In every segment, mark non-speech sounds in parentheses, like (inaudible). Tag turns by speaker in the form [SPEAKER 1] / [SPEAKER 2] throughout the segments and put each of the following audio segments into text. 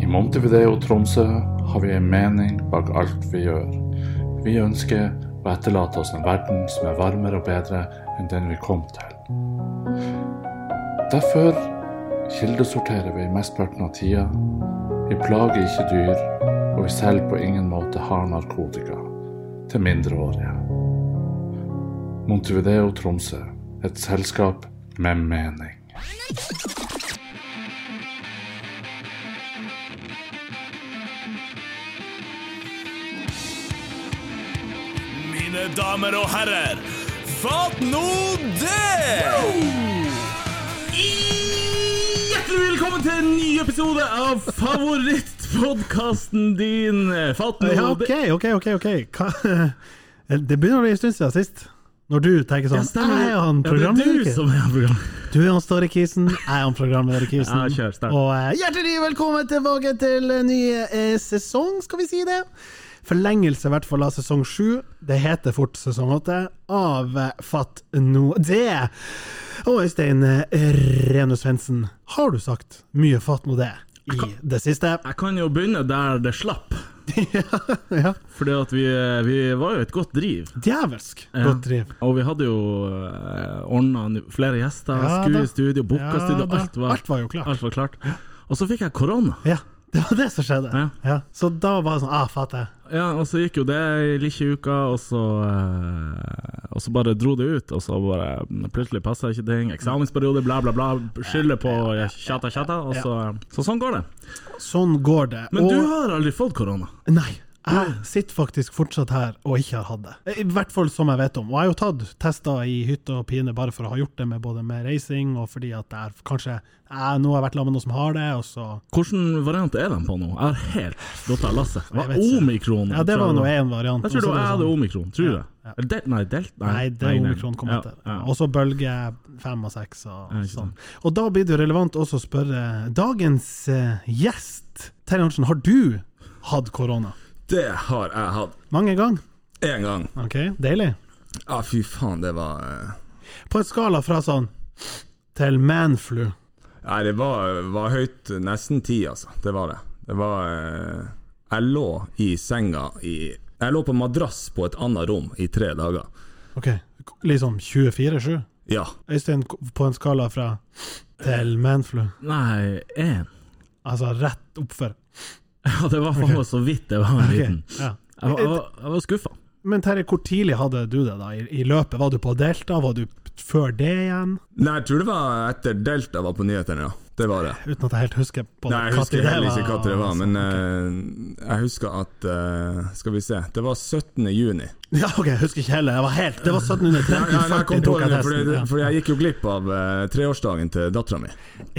[SPEAKER 1] I Montevideo Tromsø har vi en mening bak alt vi gjør. Vi ønsker å etterlate oss en verden som er varmere og bedre enn den vi kom til. Derfor kildesorterer vi mesteparten av tida. Vi plager ikke dyr, og vi selv på ingen måte har narkotika til mindreårige. Montevideo Tromsø, et selskap med mening.
[SPEAKER 2] Mine damer og herrer, fatt nå det!
[SPEAKER 3] Hjertelig velkommen til en ny episode av favorittpodkasten din. Fatt nå
[SPEAKER 4] Ja, OK,
[SPEAKER 3] det.
[SPEAKER 4] OK. ok, ok Hva? (laughs) Det begynner å bli en stund siden sist. Når du tenker sånn
[SPEAKER 3] Ja, stemmer.
[SPEAKER 4] Jeg er
[SPEAKER 3] Ja,
[SPEAKER 4] han
[SPEAKER 3] det er
[SPEAKER 4] programleder
[SPEAKER 3] du som er programleder.
[SPEAKER 4] Du er han Ståre Kisen, jeg er han programleder Kisen.
[SPEAKER 3] Ja, kjør, start.
[SPEAKER 4] og eh, hjertelig velkommen tilbake til en ny eh, sesong, skal vi si det. Forlengelse i hvert fall av sesong sju. Det heter fort sesong åtte. Av eh, Fatt no det. Og Øystein eh, Renus Svendsen, har du sagt mye Fatt no det i det siste?
[SPEAKER 3] Jeg kan jo begynne der det slapp.
[SPEAKER 4] (laughs) Ja.
[SPEAKER 3] Fordi at vi, vi var jo et godt driv.
[SPEAKER 4] Djevelsk
[SPEAKER 3] Ja.
[SPEAKER 4] godt driv.
[SPEAKER 3] Og vi hadde jo eh, ordna nu- flere gjester,
[SPEAKER 4] Ja,
[SPEAKER 3] skue
[SPEAKER 4] da.
[SPEAKER 3] studio, booka
[SPEAKER 4] Ja,
[SPEAKER 3] studio,
[SPEAKER 4] da.
[SPEAKER 3] alt var,
[SPEAKER 4] Alt var jo klart.
[SPEAKER 3] Alt var klart. Og så fikk jeg korona.
[SPEAKER 4] Ja, det var det som skjedde.
[SPEAKER 3] Ja.
[SPEAKER 4] Ja. Så da var det sånn Ah, fatter jeg.
[SPEAKER 3] Ja, og så gikk jo det i lille uka, og så, eh, og så bare dro det ut. Og så bare mm, plutselig passa ikke ting. Eksamensperiode, bla, bla, bla. Skylder på eh, tjata, tjata. Og så, så sånn går det.
[SPEAKER 4] Sånn går det.
[SPEAKER 3] Men
[SPEAKER 4] og
[SPEAKER 3] du har aldri fått korona.
[SPEAKER 4] Nei. Jeg sitter faktisk fortsatt her og ikke har hatt det. I hvert fall som jeg vet om. Og jeg har jo tatt tester i hytte og pine bare for å ha gjort det med både med reising og fordi at jeg kanskje jeg, Nå har jeg vært sammen med noen som har det, og så
[SPEAKER 3] Hvilken variant er den på nå? Jeg har helt gått av lasset. Det var
[SPEAKER 4] Jeg vet ikke.
[SPEAKER 3] omikron.
[SPEAKER 4] Ja, det var nå én variant.
[SPEAKER 3] Jeg tror
[SPEAKER 4] og
[SPEAKER 3] det
[SPEAKER 4] så
[SPEAKER 3] var jeg
[SPEAKER 4] er
[SPEAKER 3] hadde
[SPEAKER 4] sånn-
[SPEAKER 3] omikron, tror jeg. Eller del- Nei, delt?
[SPEAKER 4] Nei, det er omikron kom
[SPEAKER 3] Ja,
[SPEAKER 4] etter.
[SPEAKER 3] ja.
[SPEAKER 4] Og så bølge fem og seks og
[SPEAKER 3] Ja, ikke
[SPEAKER 4] sånn.
[SPEAKER 3] sant.
[SPEAKER 4] Og da blir det jo relevant også å spørre dagens eh, gjest, Terje Hansen, har du hatt korona?
[SPEAKER 2] Det har jeg hatt
[SPEAKER 4] Mange ganger?
[SPEAKER 2] én gang.
[SPEAKER 4] OK, deilig.
[SPEAKER 2] Ja,
[SPEAKER 3] Ah,
[SPEAKER 2] fy faen, det var eh,
[SPEAKER 4] På en skala fra sånn til manflu.
[SPEAKER 2] Nei, det var, var høyt nesten ti, altså. Det var det. Det var eh, Jeg lå i senga i Jeg lå på madrass på et annet rom i tre dager.
[SPEAKER 4] OK, liksom 24-7?
[SPEAKER 2] Ja.
[SPEAKER 4] Øystein, på en skala fra til manflu,
[SPEAKER 3] Nei, én.
[SPEAKER 4] altså rett oppfor.
[SPEAKER 3] (laughs) Ja, det var faen meg så vidt det var en
[SPEAKER 4] Ok,
[SPEAKER 3] liten.
[SPEAKER 4] ja.
[SPEAKER 3] Jeg var, jeg var, jeg var skuffa.
[SPEAKER 4] Men Terje, hvor tidlig hadde du det da i, i løpet? Var du på delta? Var du før det igjen?
[SPEAKER 2] Nei, jeg tror det var etter Delta var på nyhetene, ja. Det var det.
[SPEAKER 4] Uten at jeg helt husker på
[SPEAKER 2] Nei, jeg
[SPEAKER 4] hva
[SPEAKER 2] husker
[SPEAKER 4] tid det
[SPEAKER 2] heller ikke
[SPEAKER 4] var,
[SPEAKER 2] når det var,
[SPEAKER 4] altså.
[SPEAKER 2] men eh, jeg husker at eh, Skal vi se, det var 17.
[SPEAKER 4] (laughs)
[SPEAKER 2] juni.
[SPEAKER 4] Ja, ok, jeg husker ikke heller. Jeg var helt, det var 1713.
[SPEAKER 2] Nei, nei, jeg kom på det, fordi,
[SPEAKER 4] Ja.
[SPEAKER 2] fordi jeg gikk jo glipp av eh, treårsdagen til dattera mi.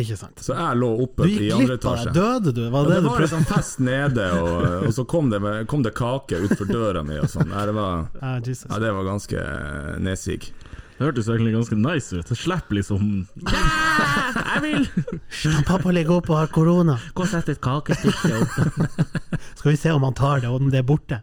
[SPEAKER 4] Ikke sant.
[SPEAKER 2] Så jeg lå
[SPEAKER 4] Du
[SPEAKER 2] oppe i
[SPEAKER 4] gikk
[SPEAKER 2] andre
[SPEAKER 4] glipp av det.
[SPEAKER 2] etasje.
[SPEAKER 4] Døde du? Var
[SPEAKER 2] Ja,
[SPEAKER 4] det,
[SPEAKER 2] det
[SPEAKER 4] du
[SPEAKER 2] var
[SPEAKER 4] prøvde?
[SPEAKER 2] liksom fest nede, og, eh, og så kom det, kom det kake utfor døra mi og sånn. Nei, det var
[SPEAKER 4] Ah, Jesus.
[SPEAKER 2] ja, det var ganske eh, nedsig.
[SPEAKER 3] Det hørtes egentlig ganske nice ut. Jeg slipper liksom Jeg vil
[SPEAKER 4] Kan Pappa ligger oppe og har korona.
[SPEAKER 3] gå og sette et kakestykke opp.
[SPEAKER 4] Skal vi se om han tar det, og om det er borte.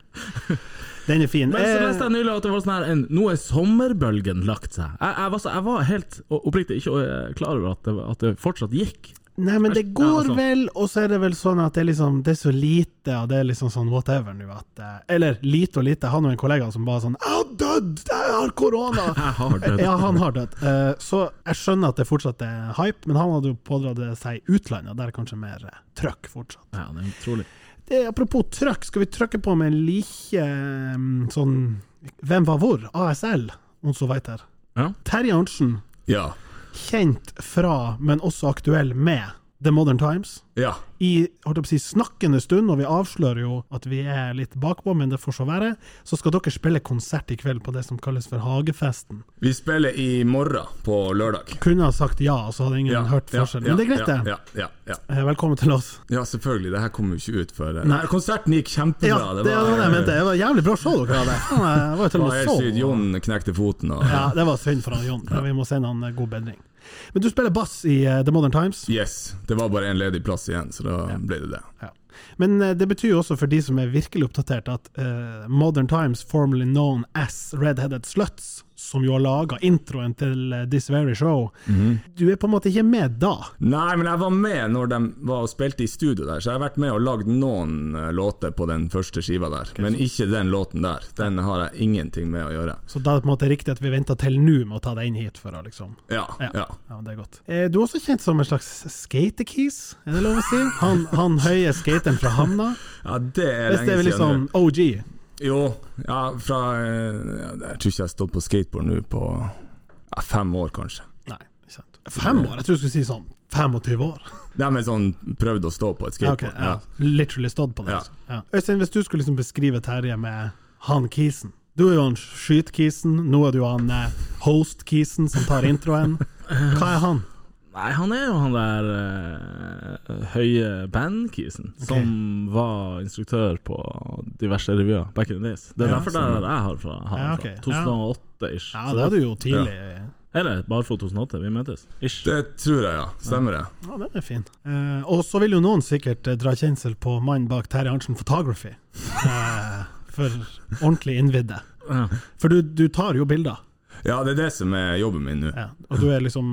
[SPEAKER 4] Den
[SPEAKER 2] (laughs)
[SPEAKER 4] er
[SPEAKER 3] (laughs)
[SPEAKER 4] fin.
[SPEAKER 3] Men så
[SPEAKER 4] Eh,
[SPEAKER 3] leste jeg nylig at det var sånn her en, Nå er sommerbølgen lagt seg. Jeg, jeg, var, så, jeg var helt o- oppriktig ikke eh, klar over at det, at det fortsatt gikk.
[SPEAKER 4] Nei, men det
[SPEAKER 3] Ja,
[SPEAKER 4] går
[SPEAKER 3] altså.
[SPEAKER 4] vel, og så er det vel sånn at det er, liksom, det er så lite, og det er liksom sånn whatever nå at eh, Eller lite og lite. Jeg har nå en kollega som bare sånn 'Jeg har dødd! Jeg har korona!'
[SPEAKER 3] Jeg har dødd.
[SPEAKER 4] Ja, han har dødd. Eh, så jeg skjønner at det fortsatt er hype, men han hadde jo pådratt det seg i utlandet, og der er kanskje mer eh, trøkk fortsatt.
[SPEAKER 3] Ja, det er utrolig.
[SPEAKER 4] Det, apropos trøkk, skal vi trøkke på med en like eh, sånn Hvem var hvor? ASL, om så veit her.
[SPEAKER 3] Ja.
[SPEAKER 4] Terje Arntzen,
[SPEAKER 2] Ja.
[SPEAKER 4] kjent fra, men også aktuell med, The Modern Times.
[SPEAKER 2] Ja.
[SPEAKER 4] I holdt jeg på å si, snakkende stund, og vi avslører jo at vi er litt bakpå, men det får så være, så skal dere spille konsert i kveld på det som kalles for Hagefesten.
[SPEAKER 2] Vi spiller i morgen på lørdag.
[SPEAKER 4] Kunne ha sagt ja, så hadde ingen
[SPEAKER 2] Ja,
[SPEAKER 4] hørt
[SPEAKER 2] ja,
[SPEAKER 4] forskjell. Men det er greit, det.
[SPEAKER 2] Ja, ja, ja, ja.
[SPEAKER 4] Eh, Velkommen til oss.
[SPEAKER 2] Ja, selvfølgelig. Det her kom jo ikke ut før eh, Nei,
[SPEAKER 4] Nei.
[SPEAKER 2] konserten gikk kjempebra.
[SPEAKER 4] Ja, det var det jeg mente. Det var jævlig bra show dere hadde. Faen, Jeg var jo
[SPEAKER 2] Det
[SPEAKER 4] til og
[SPEAKER 2] var
[SPEAKER 4] med
[SPEAKER 2] helt
[SPEAKER 4] og
[SPEAKER 2] sykt.
[SPEAKER 4] så.
[SPEAKER 2] Jon knekte foten og
[SPEAKER 4] Ja, det var synd for han Jon, men vi må sende han eh, god bedring. Men du spiller bass i eh, The Modern Times.
[SPEAKER 2] Yes. Det var bare en ledig plass igjen, så da ble det det.
[SPEAKER 4] Ja. Men eh, det betyr jo også for de som er virkelig oppdatert, at eh, Modern Times, formerly known as Redheaded Sluts, som jo har laga introen til eh, This Very Show,
[SPEAKER 2] Mhm.
[SPEAKER 4] du er på en måte ikke med da.
[SPEAKER 2] Nei, men jeg var med når de var og spilte i studio der, så jeg har vært med og lagd noen eh, låter på den første skiva der. Men ikke den låten der. Den har jeg ingenting med å gjøre.
[SPEAKER 4] Så da er det på en måte riktig at vi venter til nå med å ta deg inn hit for å liksom
[SPEAKER 2] Ja,
[SPEAKER 4] Ja.
[SPEAKER 2] ja.
[SPEAKER 4] Ja, men det er godt. Eh, Du er også kjent som en slags skatekis, er det lov å si? Han, han høye skateren fra Hamna.
[SPEAKER 2] ja det er
[SPEAKER 4] Hvis det
[SPEAKER 2] lenge
[SPEAKER 4] er
[SPEAKER 2] siden.
[SPEAKER 4] liksom
[SPEAKER 2] nå.
[SPEAKER 4] OG.
[SPEAKER 2] Jo, ja, fra eh, ja, Jeg tror ikke jeg har stått på skateboard nå på ja, fem år, kanskje.
[SPEAKER 4] Nei, ikke sant. Fem år? Jeg tror du skulle si sånn 25 år.
[SPEAKER 2] Nei, men sånn prøvd å stå på et
[SPEAKER 4] Ja, ok,
[SPEAKER 2] skateboard.
[SPEAKER 4] ja. Literally stått på det.
[SPEAKER 2] Ja.
[SPEAKER 4] altså. Ja. Øystein, hvis du skulle liksom beskrive Terje med han kisen Du er jo han skyt-kisen, nå er du jo han eh, host-kisen som tar introen. Hva er han?
[SPEAKER 3] Nei, han er jo han der eh, høye bandkisen som var instruktør på diverse revyer back in the days. Det er
[SPEAKER 4] Ja,
[SPEAKER 3] derfor det er der jeg har fra. Har
[SPEAKER 4] Ja,
[SPEAKER 3] han
[SPEAKER 4] ok,
[SPEAKER 3] fra.
[SPEAKER 4] ja.
[SPEAKER 3] 2008-ish.
[SPEAKER 4] Ja, det er du jo tidlig.
[SPEAKER 3] Eller bare for 2008, vi møtes. Ish.
[SPEAKER 2] Det tror jeg, ja. Stemmer det.
[SPEAKER 4] Ja, den er fin. Eh, og så vil jo noen sikkert eh, dra kjensel på mannen bak Terje Arntzen Photography. Eh, for ordentlig innvidde.
[SPEAKER 3] Ja.
[SPEAKER 4] For du, du tar jo bilder,
[SPEAKER 2] Ja, det er det som er jobben min nå.
[SPEAKER 4] ja. og du er liksom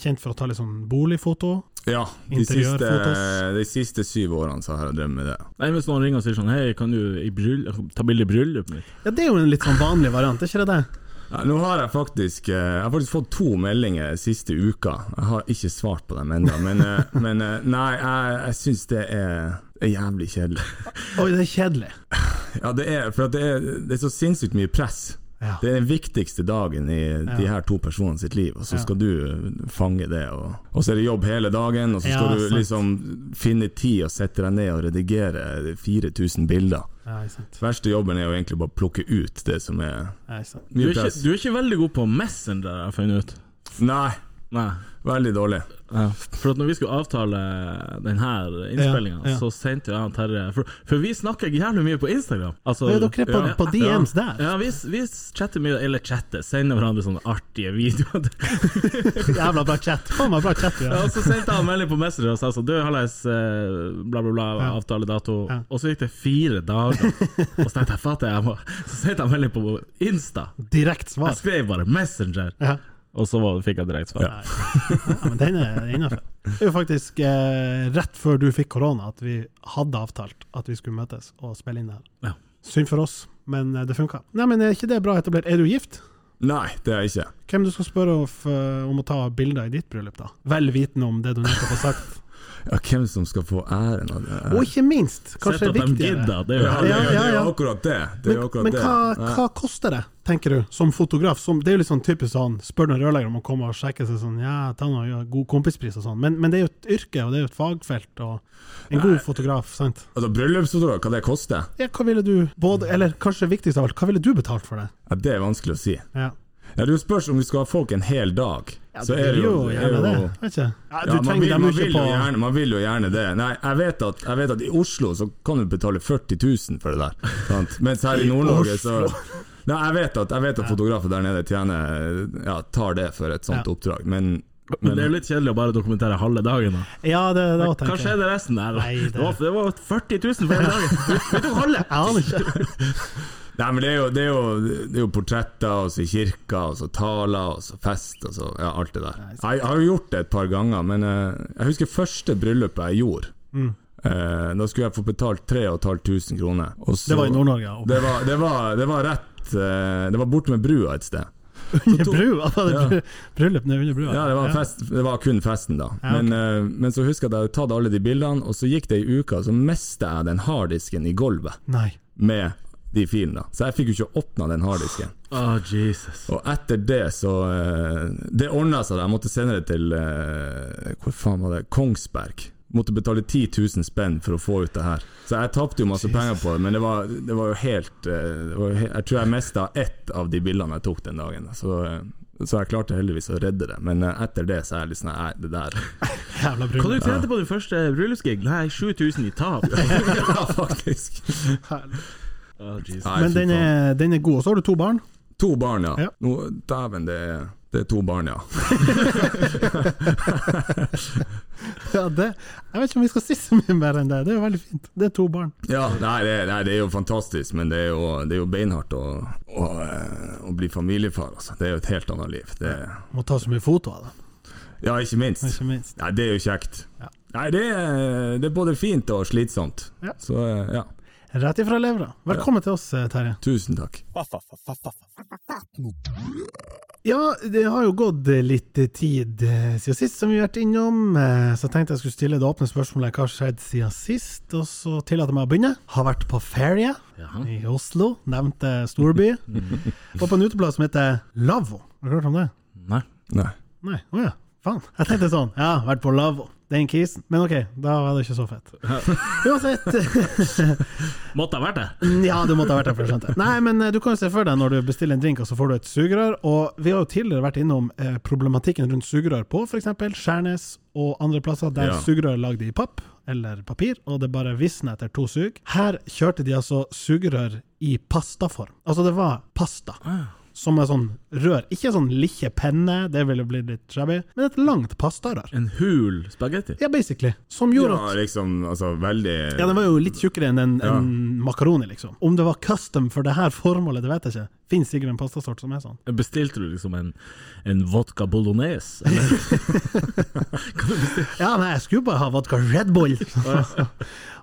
[SPEAKER 4] kjent for å ta litt sånn boligfoto.
[SPEAKER 2] Ja, de siste,
[SPEAKER 4] Interiørfotos.
[SPEAKER 2] de siste syv årene så har jeg drevet med det.
[SPEAKER 3] Nei, Hvis noen ringer og sier sånn Hei, kan du i bryll- ta bilde i bryllupet mitt?
[SPEAKER 4] Ja, det er jo en litt sånn vanlig variant, er ikke det det?
[SPEAKER 2] Ja, nå har jeg faktisk eh, Jeg har faktisk fått to meldinger siste uka. Jeg har ikke svart på dem ennå, men, eh, men eh, Nei, jeg, jeg syns det er er jævlig kjedelig.
[SPEAKER 4] Oi, det er kjedelig.
[SPEAKER 2] Ja, det er for at det er, det er så sinnssykt mye press.
[SPEAKER 4] Ja.
[SPEAKER 2] Det er den viktigste dagen i de her to personene sitt liv, og så skal du fange det. Og, og så er det jobb hele dagen, og så skal
[SPEAKER 4] Ja,
[SPEAKER 2] du
[SPEAKER 4] sant.
[SPEAKER 2] liksom finne tid og sette deg ned og redigere 4000 bilder.
[SPEAKER 4] Ja, ikke sant.
[SPEAKER 2] Verste jobben er jo egentlig bare å plukke ut det som er
[SPEAKER 4] Ja, ikke sant.
[SPEAKER 3] Du er,
[SPEAKER 2] mye
[SPEAKER 3] ikke,
[SPEAKER 2] press.
[SPEAKER 3] du er ikke veldig god på Messenger, har jeg funnet ut.
[SPEAKER 2] Nei,
[SPEAKER 3] Nei.
[SPEAKER 2] veldig dårlig.
[SPEAKER 3] Ja. For at når vi skulle avtale denne innspillinga,
[SPEAKER 4] Ja, ja.
[SPEAKER 3] så sendte jeg han Terje for, for vi snakker jævlig mye på Instagram. Altså,
[SPEAKER 4] Ja, dere er på,
[SPEAKER 3] ja.
[SPEAKER 4] på DMs der.
[SPEAKER 3] Ja, vi, vi chatter mye, eller chatter, sender hverandre sånne artige videoer. (laughs)
[SPEAKER 4] Jævla bra chat. Faen meg bra chat.
[SPEAKER 3] Ja,
[SPEAKER 4] Ja.
[SPEAKER 3] og så sendte han melding på Messenger og sa sånn Du, hallais, eh, bla, bla, bla,
[SPEAKER 4] Ja.
[SPEAKER 3] avtaledato.
[SPEAKER 4] Ja.
[SPEAKER 3] Og så gikk det fire dager, og så tenkte jeg fatter jeg må Så sendte han melding på Insta.
[SPEAKER 4] Direkt svar.
[SPEAKER 3] Jeg skrev bare 'Messenger',
[SPEAKER 4] Ja.
[SPEAKER 3] og så var, fikk jeg direkte svar.
[SPEAKER 4] Ja, men den er innafor. Det er jo faktisk eh, rett før du fikk korona at vi hadde avtalt at vi skulle møtes og spille inn det her.
[SPEAKER 3] Ja.
[SPEAKER 4] Synd for oss, men eh, det funka. Nei, men er ikke det bra etablert? Er du gift?
[SPEAKER 2] Nei, det er jeg ikke.
[SPEAKER 4] Hvem du skal spørre om, f- om å ta bilder i ditt bryllup, da? Vel vitende om det du nettopp har sagt.
[SPEAKER 2] Ja, hvem som skal få æren av det? her?
[SPEAKER 4] Og ikke minst,
[SPEAKER 3] Sett
[SPEAKER 4] kanskje
[SPEAKER 3] at de
[SPEAKER 4] viktigere
[SPEAKER 3] gidder, det er jo
[SPEAKER 2] Ja, det,
[SPEAKER 4] Ja,
[SPEAKER 2] er- det
[SPEAKER 4] ja,
[SPEAKER 2] er
[SPEAKER 4] ja.
[SPEAKER 2] jo akkurat det. det, er
[SPEAKER 4] Men,
[SPEAKER 2] jo akkurat
[SPEAKER 4] men
[SPEAKER 2] det.
[SPEAKER 4] hva,
[SPEAKER 2] Ja.
[SPEAKER 4] hva koster det, tenker du, som fotograf? Som, det er jo litt sånn typisk sånn, spør du en rørlegger om å komme og sjekke seg sånn, ja, ta noe, ja, god kompispris og sånn, men, men det er jo et yrke, og det er jo et fagfelt, og en god fotograf, sant?
[SPEAKER 2] Altså, Bryllupsfotograf, hva det koster?
[SPEAKER 4] Ja, hva ville du, både, eller kanskje viktigst av alt, hva ville du betalt for det?
[SPEAKER 2] Ja, det er vanskelig å si.
[SPEAKER 4] Ja,
[SPEAKER 2] Ja, det spørs om vi skal ha folk en hel dag. så er det jo, det er
[SPEAKER 4] gjerne det,
[SPEAKER 2] jo-
[SPEAKER 4] vet ikke? Ja, du
[SPEAKER 2] Ja, man,
[SPEAKER 4] trenger
[SPEAKER 2] vil,
[SPEAKER 4] dem
[SPEAKER 2] man,
[SPEAKER 4] jo ikke
[SPEAKER 2] vil jo
[SPEAKER 4] på...
[SPEAKER 2] gjerne, man vil jo gjerne det. Nei, jeg vet, at, jeg vet at i Oslo så kan du betale 40 000 for det der, sant? mens
[SPEAKER 4] (laughs)
[SPEAKER 2] her i Nord-Norge så Nei, jeg vet at, jeg vet at fotografer der nede tjener Ja, tar det for et sånt
[SPEAKER 4] Ja.
[SPEAKER 2] oppdrag, men
[SPEAKER 3] Men det er jo litt kjedelig å bare dokumentere halve dagen. da
[SPEAKER 4] Ja, det, da
[SPEAKER 3] Hva
[SPEAKER 4] tenker jeg.
[SPEAKER 3] skjedde resten der? da?
[SPEAKER 4] Nei, det-
[SPEAKER 3] Det, var, det var 40 000 for hele dagen! Vi tok halve!
[SPEAKER 4] (laughs) Jeg aner ikke.
[SPEAKER 2] (laughs) Nei, men det er jo, det er jo, det er jo portretter, og så kirker, og så taler, og så fest, og så ja, alt det der. Jeg har jo gjort det et par ganger, men eh, jeg husker første bryllupet jeg gjorde.
[SPEAKER 4] Mm.
[SPEAKER 2] Eh, da skulle jeg få betalt 3500 kroner. og så-
[SPEAKER 4] Det var i Nord-Norge, ja.
[SPEAKER 2] Det var, det var, det var rett eh, Det var borte med brua et sted.
[SPEAKER 4] Under brua, var det bry- bryllup nede under brua?
[SPEAKER 2] Ja, det var, fest, det var kun festen, da.
[SPEAKER 4] Ja, ok.
[SPEAKER 2] Men, eh, men så husker jeg at jeg hadde tatt alle de bildene, og så gikk det ei uke, og så mista jeg den harddisken i gulvet
[SPEAKER 4] Nei.
[SPEAKER 2] med de filene. Så jeg fikk jo ikke åpna den harddisken.
[SPEAKER 3] Å, Jesus.
[SPEAKER 2] Og etter det så eh, Det ordna seg, da. Jeg måtte sende det til eh, Hvor faen var det? Kongsberg. Måtte betale 10 000 spenn for å få ut det her. Så jeg tapte jo masse penger på det, men det var, det var jo helt eh, det var, jo he- Jeg tror jeg mista ett av de bildene jeg tok den dagen. da. Så, eh, så jeg klarte heldigvis å redde det, men eh, etter det så er jeg litt sånn Nei, det der (laughs)
[SPEAKER 4] Jævla
[SPEAKER 3] Hva du
[SPEAKER 4] bryllup.
[SPEAKER 3] tjente på din første bryllupsgig? Nei, 7000 i tap.
[SPEAKER 2] Ja, faktisk.
[SPEAKER 3] Å, Jesus.
[SPEAKER 2] Nei,
[SPEAKER 4] Men
[SPEAKER 2] fy
[SPEAKER 4] den
[SPEAKER 2] faen.
[SPEAKER 4] er, den er god, og så har du to barn.
[SPEAKER 2] To barn, ja.
[SPEAKER 4] Ja.
[SPEAKER 2] Nå, dæven, det er, det er to barn, ja.
[SPEAKER 4] (laughs) Ja, det, jeg vet ikke om vi skal si så mye mer enn det. Det er jo veldig fint. Det er to barn.
[SPEAKER 2] Ja, nei det, nei, det er jo fantastisk, men det er jo, det er jo beinhardt å, å, eh, å bli familiefar. Altså. Det er jo et helt annet liv. Det,
[SPEAKER 4] Må ta så mye foto av dem,
[SPEAKER 2] ja, ikke minst.
[SPEAKER 4] ikke minst.
[SPEAKER 2] Nei, det er jo kjekt.
[SPEAKER 4] Ja.
[SPEAKER 2] Nei, det er, det er både fint og slitsomt.
[SPEAKER 4] Ja.
[SPEAKER 2] Så eh, ja,
[SPEAKER 4] Rett ifra levra. Velkommen til oss, eh, Terje.
[SPEAKER 2] tusen takk.
[SPEAKER 4] Ja, det har jo gått eh, litt tid eh, siden sist, som vi har vært innom. eh, Så jeg tenkte jeg skulle stille det åpne spørsmålet hva har skjedd siden sist, og så tillater jeg meg å begynne. Har vært på ferie i Oslo, nevnte storby. Og på en uteplass som heter Lavvo. Har du hørt om det?
[SPEAKER 3] Nei.
[SPEAKER 2] Nei.
[SPEAKER 4] Nei, å ja. Faen. Jeg tenkte sånn, ja, vært på Lavvo. Den kisen. Men ok, da var det ikke så fett. Uansett.
[SPEAKER 3] Måtte ha vært det!
[SPEAKER 4] Ja, du måtte ha vært der for å skjønne det. Nei, men eh, du kan jo se for deg når du bestiller en drink, og så får du et sugerør. Og vi har jo tidligere vært innom eh, problematikken rundt sugerør på f.eks. Skjærnes og andre plasser der
[SPEAKER 2] Ja.
[SPEAKER 4] sugerør er lagd i papp eller papir, og det bare visner etter to sug. Her kjørte de altså sugerør i pastaform. Altså, det var pasta.
[SPEAKER 2] Ah.
[SPEAKER 4] Som er sånn rør. Ikke sånn lille penne, det ville blitt litt shabby, men et langt pastarør.
[SPEAKER 3] En hul spagetti.
[SPEAKER 4] Ja, basically. Som gjorde
[SPEAKER 2] Ja,
[SPEAKER 4] at
[SPEAKER 2] liksom, altså veldig
[SPEAKER 4] ja, den var jo litt tjukkere enn en, en makaroni, liksom. Om det var custom for det her formålet, det vet jeg ikke. Fins sikkert en pastasort som er sånn.
[SPEAKER 3] Bestilte du liksom en, en vodka bolognese? Eller? Kan du bestille-
[SPEAKER 4] Ja, nei, jeg skulle bare ha vodka Red
[SPEAKER 2] (laughs)
[SPEAKER 4] Bull! (laughs)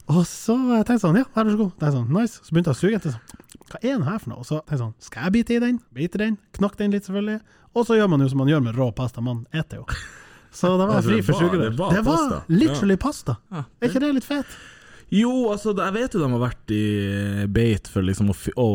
[SPEAKER 4] og så eh, tenkte jeg sånn, ja, vær så god. Tenkte jeg sånn, nice. Så begynte jeg å suge etter sånn, hva er den her for noe? Og så tenkte jeg sånn, skal jeg bite i den? Bite i den? Knakk den litt, selvfølgelig. Og så gjør man jo som man gjør med rå pasta, man eter jo. (laughs) Så da var jeg
[SPEAKER 2] Altså,
[SPEAKER 4] fri
[SPEAKER 2] det
[SPEAKER 4] for
[SPEAKER 2] var-
[SPEAKER 4] sugerør.
[SPEAKER 2] det var
[SPEAKER 4] Det var
[SPEAKER 2] pasta.
[SPEAKER 4] literally pasta. Er ikke det litt fett?
[SPEAKER 3] (laughs) jo, altså, jeg vet jo de har vært i beit for liksom å, fi- å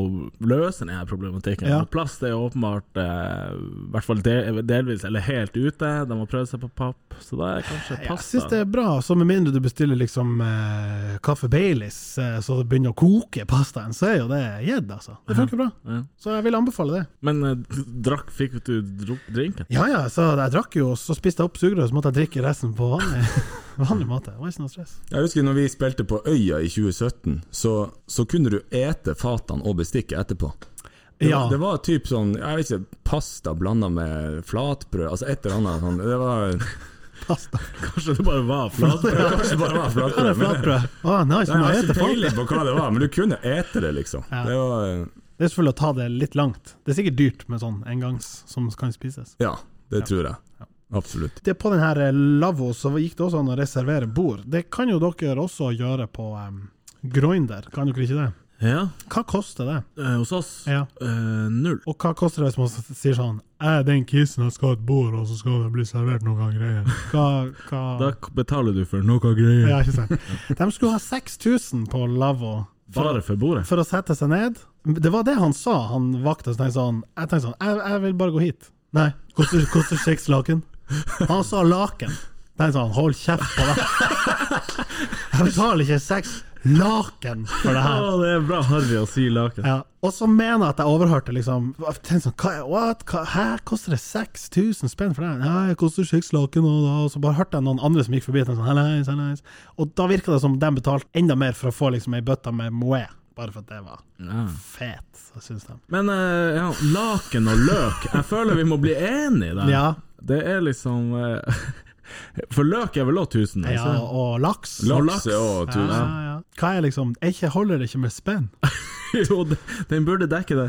[SPEAKER 3] løse denne problematikken.
[SPEAKER 4] Ja.
[SPEAKER 3] Og Plast er jo åpenbart eh, i hvert fall del, delvis eller helt ute. De har prøvd seg på papp, så da er kanskje
[SPEAKER 4] Ja, Jeg
[SPEAKER 3] pasta
[SPEAKER 4] syns det er bra, så med mindre du bestiller liksom eh, kaffe Baileys, eh, så det begynner å koke pastaen, så er jo det gjedd, altså. Det funker bra.
[SPEAKER 3] Ja.
[SPEAKER 4] Så jeg vil anbefale det.
[SPEAKER 3] Men eh, drakk, fikk du drukket drinken? (laughs)
[SPEAKER 4] Ja ja, så jeg drakk jo, og så spiste jeg opp sugerøret, så måtte jeg drikke resten på vanlig, (laughs) vanlig måte. Det var ikke noe stress.
[SPEAKER 2] Jeg husker når vi spilte på Øya i 2017, så, så kunne du ete fatene og bestikket etterpå. Det,
[SPEAKER 4] Ja.
[SPEAKER 2] var- det var typ sånn, jeg vet ikke, pasta blanda med flatbrød, altså et eller annet sånn. Det var
[SPEAKER 4] Pasta.
[SPEAKER 3] Kanskje det bare var
[SPEAKER 4] (laughs)
[SPEAKER 3] flatbrød?
[SPEAKER 2] det kanskje bare var
[SPEAKER 4] Ja, det er
[SPEAKER 2] flatbrød. Men det,
[SPEAKER 4] flatbrød. Å, nice,
[SPEAKER 2] Nei,
[SPEAKER 4] nå
[SPEAKER 2] jeg
[SPEAKER 4] heter
[SPEAKER 2] har ikke
[SPEAKER 4] folk det.
[SPEAKER 2] peiling på hva det var, men du kunne ete det, liksom.
[SPEAKER 4] Ja.
[SPEAKER 2] Det var
[SPEAKER 4] Det er selvfølgelig å ta det litt langt. Det er sikkert dyrt med sånn engangs som kan spises.
[SPEAKER 2] Ja, det tror jeg. Absolutt.
[SPEAKER 4] det på den her eh, lavvo så gikk det også an å reservere bord. Det kan jo dere også gjøre på um, Groinder, kan dere ikke det?
[SPEAKER 3] Ja,
[SPEAKER 4] Hva koster det?
[SPEAKER 3] eh, hos oss
[SPEAKER 4] Ja.
[SPEAKER 3] eh, null.
[SPEAKER 4] Og hva koster det hvis man s- sier sånn Jeg er den kissen jeg skal ha et bord, og så skal det bli servert noen greier. Hva, hva?
[SPEAKER 3] Da k- betaler du for noe greier.
[SPEAKER 4] Ja, ikke sant? De skulle ha 6000 på lavvo. For,
[SPEAKER 3] Bare for bordet.
[SPEAKER 4] for å sette seg ned. Det var det han sa, han vakta. Så tenkte jeg sånn, jeg, tenkte sånn jeg, jeg vil bare gå hit. Nei, koster, koster seks laken. Han sa laken. Tenkte sånn, hold kjeft på deg. Jeg betaler ikke seks laken for det
[SPEAKER 3] Å,
[SPEAKER 4] her.
[SPEAKER 3] det er bra harry å si laken.
[SPEAKER 4] Ja. Og så mener jeg at jeg overhørte liksom jeg tenkte sånn, hva, what, hva, Hæ, koster det 6000 spenn for det? Ja, det koster seks laken, og, da, og så bare hørte jeg noen andre som gikk forbi, og tenkte sånn, «Hallais, hallais». og da virka det som de betalte enda mer for å få liksom ei bøtte med moé, bare for at det var
[SPEAKER 3] Ja.
[SPEAKER 4] fet, så syns de.
[SPEAKER 3] Men eh, ja, laken og løk Jeg føler vi må bli enige der.
[SPEAKER 4] Ja,
[SPEAKER 3] Det er liksom eh, (laughs) For løk er vel altså. òg 1000?
[SPEAKER 4] ja og laks.
[SPEAKER 2] Laks
[SPEAKER 4] Ja,
[SPEAKER 2] er også
[SPEAKER 4] ja,
[SPEAKER 2] 1000.
[SPEAKER 4] ja. Hva er liksom er ikke, Holder det ikke med spenn?
[SPEAKER 3] (laughs) jo, de- den burde dekke det.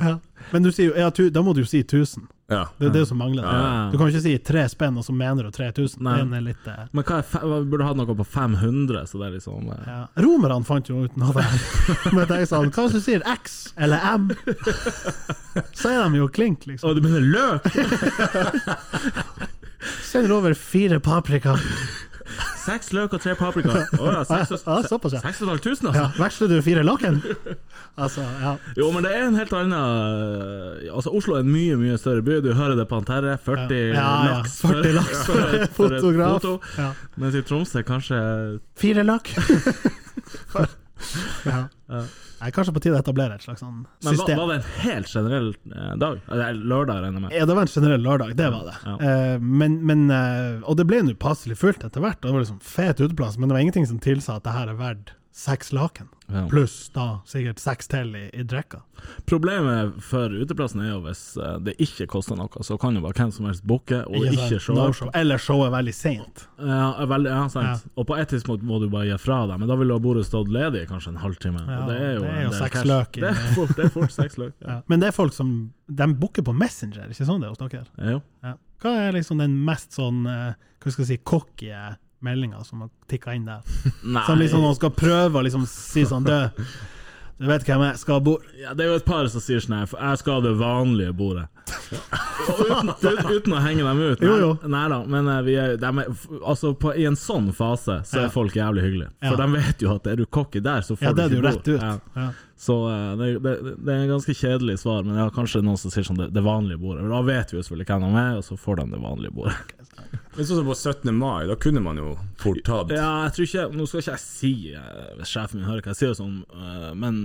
[SPEAKER 4] Men du sier jo ja, tu, Da må du jo si 1000.
[SPEAKER 2] Ja.
[SPEAKER 4] Det er det som mangler.
[SPEAKER 3] Ja.
[SPEAKER 4] Du kan jo ikke si tre spenn, og så mener du 3000.
[SPEAKER 3] Nei.
[SPEAKER 4] Den er litt eh,
[SPEAKER 3] Men hva er fe hva- burde ha noe på 500, så det er liksom eh,
[SPEAKER 4] ja. Romerne fant jo ut noe
[SPEAKER 3] (laughs)
[SPEAKER 4] der. Men jeg sa hva hvis du sier X eller M? Så er de jo klink,
[SPEAKER 3] Å,
[SPEAKER 4] liksom.
[SPEAKER 3] du mener løk?
[SPEAKER 4] Sender over fire
[SPEAKER 3] (laughs)
[SPEAKER 4] paprika.
[SPEAKER 3] Seks løk og tre paprika. Å ja, seks og-
[SPEAKER 4] Ja, såpass, ja.
[SPEAKER 3] 6500, altså.
[SPEAKER 4] Ja, veksler du fire laken? Altså, ja.
[SPEAKER 3] Jo, men det er en helt annen Altså, Oslo er en mye, mye større by. Du hører det på han Terre. 40
[SPEAKER 4] Ja, ja,
[SPEAKER 3] laks
[SPEAKER 4] 40 laks for en fotograf. Ja.
[SPEAKER 3] Mens i Tromsø kanskje
[SPEAKER 4] Fire lakk.
[SPEAKER 3] (laughs)
[SPEAKER 4] ja.
[SPEAKER 3] Ja.
[SPEAKER 4] Det er kanskje på tide å etablere et slags sånn
[SPEAKER 3] Men var,
[SPEAKER 4] system.
[SPEAKER 3] var det en helt generell eh, dag? Eller lørdag, regner jeg med.
[SPEAKER 4] Ja, det var en generell lørdag, det var det.
[SPEAKER 3] Ja.
[SPEAKER 4] Eh, men, men, eh, og det ble nå passelig fullt etter hvert. og Det var liksom fet uteplass, men det var ingenting som tilsa at det her er verdt seks laken.
[SPEAKER 3] Ja.
[SPEAKER 4] Pluss da sikkert seks til i, i drekka.
[SPEAKER 3] Problemet for uteplassen er jo hvis eh, det ikke koster noe, så kan jo bare hvem som helst booke og
[SPEAKER 4] Ikke
[SPEAKER 3] ikke
[SPEAKER 4] sant?
[SPEAKER 3] show.
[SPEAKER 4] No
[SPEAKER 3] up.
[SPEAKER 4] show. Eller showet er veldig seint.
[SPEAKER 3] Ja, er veldig, ja, sant. Og på et tidspunkt må du bare gi fra deg, men da ville bordet stått ledig i kanskje en halvtime.
[SPEAKER 4] Ja,
[SPEAKER 3] og det er jo,
[SPEAKER 4] det er
[SPEAKER 3] en
[SPEAKER 4] jo
[SPEAKER 3] del
[SPEAKER 4] seks
[SPEAKER 3] cash.
[SPEAKER 4] løk i-
[SPEAKER 3] Det er fort, det er fort seks løk. Ja.
[SPEAKER 4] Ja. Men det er folk som De booker på Messenger, ikke sånn det er hos dere?
[SPEAKER 3] Jo.
[SPEAKER 4] (laughs) Ja. Hva er liksom den mest sånn eh, Hva skal jeg si, cocky meldinga som har tikka inn der?
[SPEAKER 3] Nei.
[SPEAKER 4] Som liksom noen skal prøve å liksom si sånn Du, du vet hvem jeg skal bo
[SPEAKER 3] Ja, det er jo et par som sier sånn her, for jeg skal ha det vanlige bordet. uten, ut- uten å henge dem ut. Nei,
[SPEAKER 4] Jo, jo.
[SPEAKER 3] nei da, men eh, vi er, dem er, f- altså på, i en sånn fase så er
[SPEAKER 4] Ja.
[SPEAKER 3] folk jævlig hyggelige. For
[SPEAKER 4] Ja.
[SPEAKER 3] de vet jo at er du cocky der, så får
[SPEAKER 4] Ja,
[SPEAKER 3] du
[SPEAKER 4] det er
[SPEAKER 3] ikke
[SPEAKER 4] du rett
[SPEAKER 3] bord.
[SPEAKER 4] ut.
[SPEAKER 3] Ja.
[SPEAKER 4] Ja.
[SPEAKER 3] Så eh, det, det, det er en ganske kjedelig svar, men ja, kanskje noen som sier sånn det, det vanlige bordet. Men Da vet vi jo selvfølgelig hvem de er, og så får de det vanlige
[SPEAKER 4] (laughs)
[SPEAKER 3] bordet.
[SPEAKER 2] Men sånn som på 17. mai, da kunne man jo fort tatt
[SPEAKER 3] Ja, jeg tror ikke Nå skal ikke jeg si eh, Hvis sjefen min hører hva jeg sier, og sånn, eh, men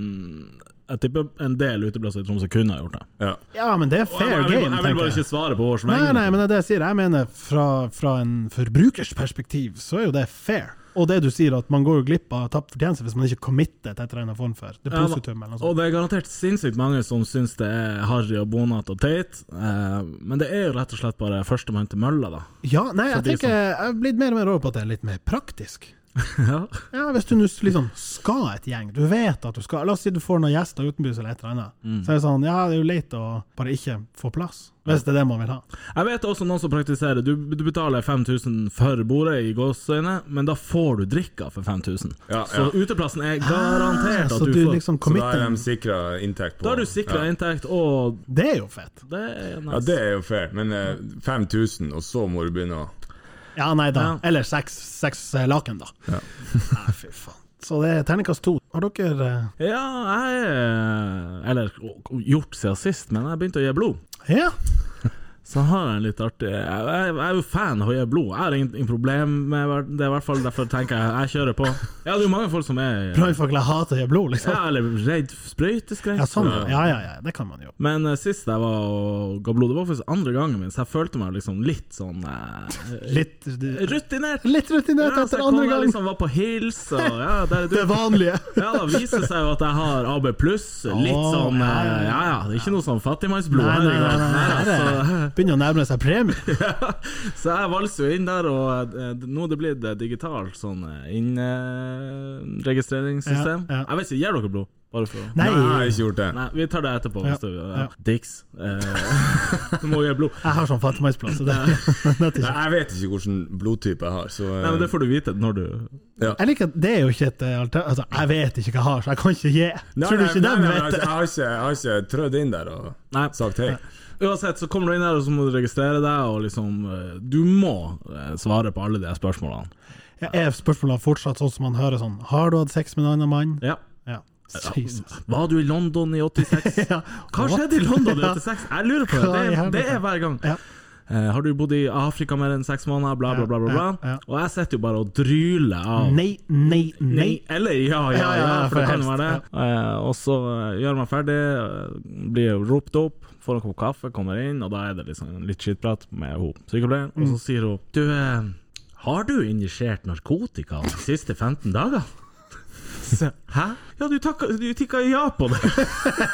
[SPEAKER 3] jeg tipper en del uteplasser i Tromsø kunne ha gjort det.
[SPEAKER 2] Ja.
[SPEAKER 4] Ja, men det er
[SPEAKER 3] Jeg,
[SPEAKER 4] fair
[SPEAKER 3] vil- jeg,
[SPEAKER 4] game,
[SPEAKER 3] vil bare
[SPEAKER 4] tenker jeg.
[SPEAKER 3] ikke svare på vår
[SPEAKER 4] Nei,
[SPEAKER 3] vegne.
[SPEAKER 4] nei, men det er det jeg sier. Jeg mener fra, fra en forbrukers perspektiv, så er jo det fair. Og det du sier, at man går jo glipp av tapt fortjeneste hvis man ikke committer til et eller annet form for depositum eller noe
[SPEAKER 3] Altså. Og
[SPEAKER 4] sånt.
[SPEAKER 3] det er garantert sinnssykt mange som syns det er harry og bonat og teit, eh, men det er jo rett og slett bare førstemann til mølla, da. (laughs)
[SPEAKER 4] Ja, nei, jeg
[SPEAKER 3] For de
[SPEAKER 4] tenker jeg har blitt mer og mer over på at det er litt mer praktisk.
[SPEAKER 3] ja.
[SPEAKER 4] Ja, Hvis du nå liksom skal et gjeng, du vet at du skal La oss si du får noen gjester utenbys eller et eller annet. Så er det sånn, ja, det er jo leit å bare ikke få plass, hvis det er det man vil ha.
[SPEAKER 3] Jeg vet også noen som praktiserer Du, du betaler 5000 for bordet i gåseøyne, men da får du drikka for 5000.
[SPEAKER 2] Ja,
[SPEAKER 3] Så
[SPEAKER 2] ja.
[SPEAKER 3] uteplassen er garantert
[SPEAKER 4] Ah, Så
[SPEAKER 3] at du,
[SPEAKER 4] du
[SPEAKER 3] får
[SPEAKER 4] liksom
[SPEAKER 2] Så da
[SPEAKER 4] committer.
[SPEAKER 2] er de sikra inntekt på
[SPEAKER 3] Da har du sikra
[SPEAKER 2] ja.
[SPEAKER 3] inntekt, og
[SPEAKER 4] Det er jo fett.
[SPEAKER 3] det er nice.
[SPEAKER 2] Ja, det er jo fair, men eh, 5000, og så må du begynne å
[SPEAKER 4] Ja, nei da.
[SPEAKER 3] Ja.
[SPEAKER 4] Eller seks, seks eh, laken, da.
[SPEAKER 2] Ja.
[SPEAKER 4] (laughs) nei, fy faen. Så det er terningkast to. Har dere eh,
[SPEAKER 3] Ja, jeg er Eller gjort siden sist, men jeg begynte å gi blod.
[SPEAKER 4] Ja.
[SPEAKER 3] Så har jeg en litt artig Jeg, jeg, jeg er jo fan av å gi blod. Jeg har ingen problem med hver- det, er i hvert fall derfor tenker jeg jeg kjører på. Ja, det er jo mange folk som er ja,
[SPEAKER 4] Brannfakler hater å gi blod, liksom.
[SPEAKER 3] eller redd sprøyteskrekk.
[SPEAKER 4] Ja, sånn. ja. Ja, ja, ja. Det kan man jo.
[SPEAKER 3] Men eh, sist jeg var og ga blod, det var faktisk andre gangen min, så jeg følte meg liksom litt sånn eh,
[SPEAKER 4] Litt, du-
[SPEAKER 3] rutinert.
[SPEAKER 4] litt
[SPEAKER 3] Ja,
[SPEAKER 4] rutinert
[SPEAKER 3] så
[SPEAKER 4] etter
[SPEAKER 3] jeg kom,
[SPEAKER 4] andre
[SPEAKER 3] jeg
[SPEAKER 4] gang.
[SPEAKER 3] liksom var på hils, og ja, der er du.
[SPEAKER 4] Det vanlige.
[SPEAKER 3] Ja, da viser det seg jo at jeg har AB pluss. Litt
[SPEAKER 4] Åh,
[SPEAKER 3] sånn
[SPEAKER 4] ja,
[SPEAKER 3] eh,
[SPEAKER 4] ja, ja.
[SPEAKER 3] Ja ja, det er ikke noe sånn fattigmannsblod
[SPEAKER 4] Nei,
[SPEAKER 3] her.
[SPEAKER 4] nei, nei,
[SPEAKER 3] engang.
[SPEAKER 4] nei,
[SPEAKER 3] Nei,
[SPEAKER 4] nei,
[SPEAKER 3] altså.
[SPEAKER 4] nei. Begynner å nærme seg premie.
[SPEAKER 3] Så jeg valser jo inn der, og eh, nå er det blitt eh, digitalt sånn eh, innregistreringssystem.
[SPEAKER 4] Ja, ja.
[SPEAKER 3] Jeg vet ikke, gir dere blod? Bare for å
[SPEAKER 4] Nei,
[SPEAKER 2] Nei, jeg har ikke gjort det.
[SPEAKER 3] Nei, vi tar det etterpå.
[SPEAKER 4] Ja,
[SPEAKER 3] Hvis du, ja.
[SPEAKER 4] ja.
[SPEAKER 3] Dix. Eh, (laughs) du må gi blod.
[SPEAKER 4] jeg har sånn fattigmannsplass. så Det, det er
[SPEAKER 2] Nei,
[SPEAKER 4] ikke.
[SPEAKER 2] jeg vet ikke hvilken blodtype jeg har, så eh,
[SPEAKER 3] Nei, men Det får du vite når du
[SPEAKER 4] (laughs) Jeg liker at det er jo ikke et eh, alter... Altså, jeg vet ikke hva jeg har, så jeg kan ikke gi.
[SPEAKER 2] Nei,
[SPEAKER 4] Tror du
[SPEAKER 2] nei,
[SPEAKER 4] ikke
[SPEAKER 2] nei,
[SPEAKER 4] dem
[SPEAKER 2] nei,
[SPEAKER 4] vet
[SPEAKER 2] altså,
[SPEAKER 4] det?
[SPEAKER 2] Jeg har ikke, jeg har ikke trødd inn der og
[SPEAKER 3] Nei.
[SPEAKER 2] sagt hei.
[SPEAKER 3] Uansett, så kommer du inn der, og så må du registrere deg, og liksom eh, Du må eh, svare på alle de spørsmålene.
[SPEAKER 4] Ja, er spørsmålene fortsatt sånn som man hører sånn Har du hatt sex med en annen mann?
[SPEAKER 3] Ja.
[SPEAKER 4] Ja. Jesus.
[SPEAKER 3] Var du i London i
[SPEAKER 4] (laughs)
[SPEAKER 3] 86?
[SPEAKER 4] Ja.
[SPEAKER 3] Hva skjedde i London i
[SPEAKER 4] (laughs)
[SPEAKER 3] 86? Jeg lurer på det.
[SPEAKER 4] Hva i
[SPEAKER 3] Det er,
[SPEAKER 4] helvete?
[SPEAKER 3] det er hver gang.
[SPEAKER 4] Ja.
[SPEAKER 3] Eh, har du bodd i Afrika mer enn seks måneder? Bla, bla, bla. bla, bla.
[SPEAKER 4] Ja, ja, ja.
[SPEAKER 3] Og jeg sitter jo bare og dryler av
[SPEAKER 4] Nei, nei, nei.
[SPEAKER 3] Eller ja, ja, ja,
[SPEAKER 4] Mm. Ja, ja,
[SPEAKER 3] for det kan
[SPEAKER 4] for
[SPEAKER 3] jo
[SPEAKER 4] helst,
[SPEAKER 3] være det. Eh, og så eh, gjør man ferdig, eh, blir jo ropt opp, får en kopp kaffe, kommer inn, og da er det liksom litt skittprat med hun sykepleieren. Og
[SPEAKER 4] Mm.
[SPEAKER 3] så sier hun Du, eh, har du injisert narkotika de siste 15 dagene? Så, Hæ? Ja, du, takka, du tikka ja på det.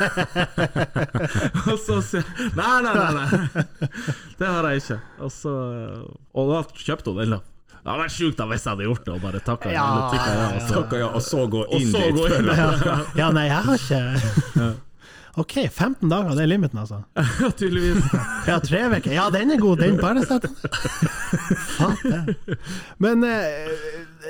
[SPEAKER 3] (laughs) og så sier jeg Nei, nei, nei. nei. Det har jeg ikke. Og, så, eh, og da kjøpte hun den. da. Det hadde vært sjukt da hvis jeg hadde gjort det og bare takka ja,
[SPEAKER 4] Ja,
[SPEAKER 3] eller tikka ja. Og så
[SPEAKER 2] Takk, ja, og så gå
[SPEAKER 3] og
[SPEAKER 2] inn
[SPEAKER 3] så
[SPEAKER 2] dit.
[SPEAKER 3] gå inn der.
[SPEAKER 4] Ja, nei, jeg har ikke OK, 15 dager, det er limiten, altså.
[SPEAKER 3] (laughs) Ja, tydeligvis.
[SPEAKER 4] Ja, tre uker. Ja, den er god, den. Bare sett den Faen, det. Men eh,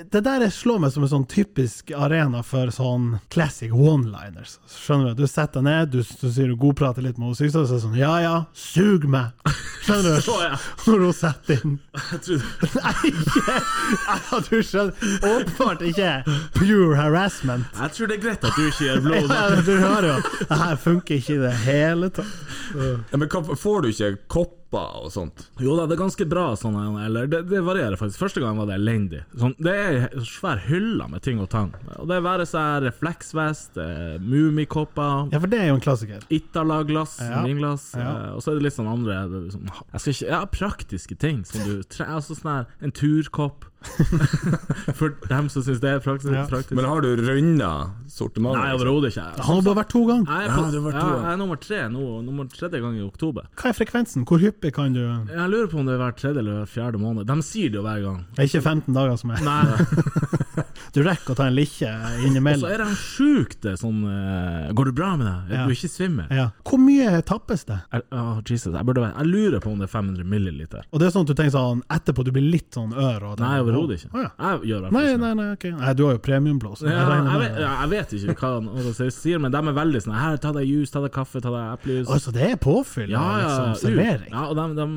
[SPEAKER 4] det der slår meg som en sånn typisk arena for sånn classic one-liners. Skjønner du? Du setter deg ned, du, du sier du godprater litt med henne, sykeste, og så er det sånn Ja ja, sug meg! Skjønner du?
[SPEAKER 3] Så, ja.
[SPEAKER 4] Når hun setter inn
[SPEAKER 3] Jeg trodde-
[SPEAKER 4] Nei, ikke ja, Du skjønner. Åpenbart ikke pure harassment.
[SPEAKER 3] Jeg tror det er greit at du ikke gjør blod.
[SPEAKER 4] Ja, du hører jo. Det her funker ikke i det hele tatt.
[SPEAKER 2] Ja, men hva- får du ikke kopper og sånn?
[SPEAKER 3] Jo da, det er ganske bra sånn, eller det, det varierer faktisk. Første gang var det elendig. Sånn, det er en svær hylle med ting og tang. Og det er være seg refleksvest, eh, mummikopper,
[SPEAKER 4] Ja, for det er jo en klassiker.
[SPEAKER 3] Itala-glass,
[SPEAKER 4] Ja.
[SPEAKER 3] vinglass,
[SPEAKER 4] Ja.
[SPEAKER 3] eh, og så er det eh, litt sånn andre det er liksom, jeg skal ikke, Ja, praktiske ting som du tre, altså sånn her, sånn En turkopp. (laughs) For dem som syns det er praktisk.
[SPEAKER 4] Ja.
[SPEAKER 3] praktisk.
[SPEAKER 2] Men har du runda sortiment?
[SPEAKER 3] Nei,
[SPEAKER 2] liksom?
[SPEAKER 3] overhodet ikke.
[SPEAKER 4] Han har bare vært to ganger.
[SPEAKER 3] Jeg er,
[SPEAKER 2] Ja,
[SPEAKER 3] på,
[SPEAKER 2] det var to,
[SPEAKER 3] ja,
[SPEAKER 2] ja.
[SPEAKER 3] jeg er nummer tre nå, nummer tredje gang i oktober.
[SPEAKER 4] Hva er frekvensen? Hvor hyppig kan du Det
[SPEAKER 3] Jeg lurer på om det er hver tredje eller hver fjerde måned. De sier det jo hver gang.
[SPEAKER 4] er ikke 15 dager som er
[SPEAKER 3] Nei,
[SPEAKER 4] Du rekker å ta en likkje
[SPEAKER 3] Og (laughs) så
[SPEAKER 4] innimellom.
[SPEAKER 3] er de sjukt det sånn eh, Går det bra med deg? Er
[SPEAKER 4] Ja.
[SPEAKER 3] du ikke svimmel?
[SPEAKER 4] Ja. Hvor mye tappes det?
[SPEAKER 3] Jeg, å, Jesus, jeg, burde, være- jeg lurer på om det er 500 milliliter.
[SPEAKER 4] Og det er sånn at du tenker sånn etterpå du blir litt sånn ør og
[SPEAKER 3] Nei, overhodet ikke.
[SPEAKER 4] Å, ja.
[SPEAKER 3] Jeg gjør i hvert fall
[SPEAKER 4] Nei,
[SPEAKER 3] ikke det.
[SPEAKER 4] nei, nei, ok. Nei, du har jo premiumblå, så jeg
[SPEAKER 3] Ja,
[SPEAKER 4] regner
[SPEAKER 3] jeg,
[SPEAKER 4] med
[SPEAKER 3] vet, jeg vet ikke hva han hva de sier, men de er veldig sånn Her, ta deg juice, ta deg kaffe, ta deg eplejus.
[SPEAKER 4] Å, så det er påfyll?
[SPEAKER 3] Ja, ja,
[SPEAKER 4] liksom,
[SPEAKER 3] ut.
[SPEAKER 4] servering?
[SPEAKER 3] ja, og de, de,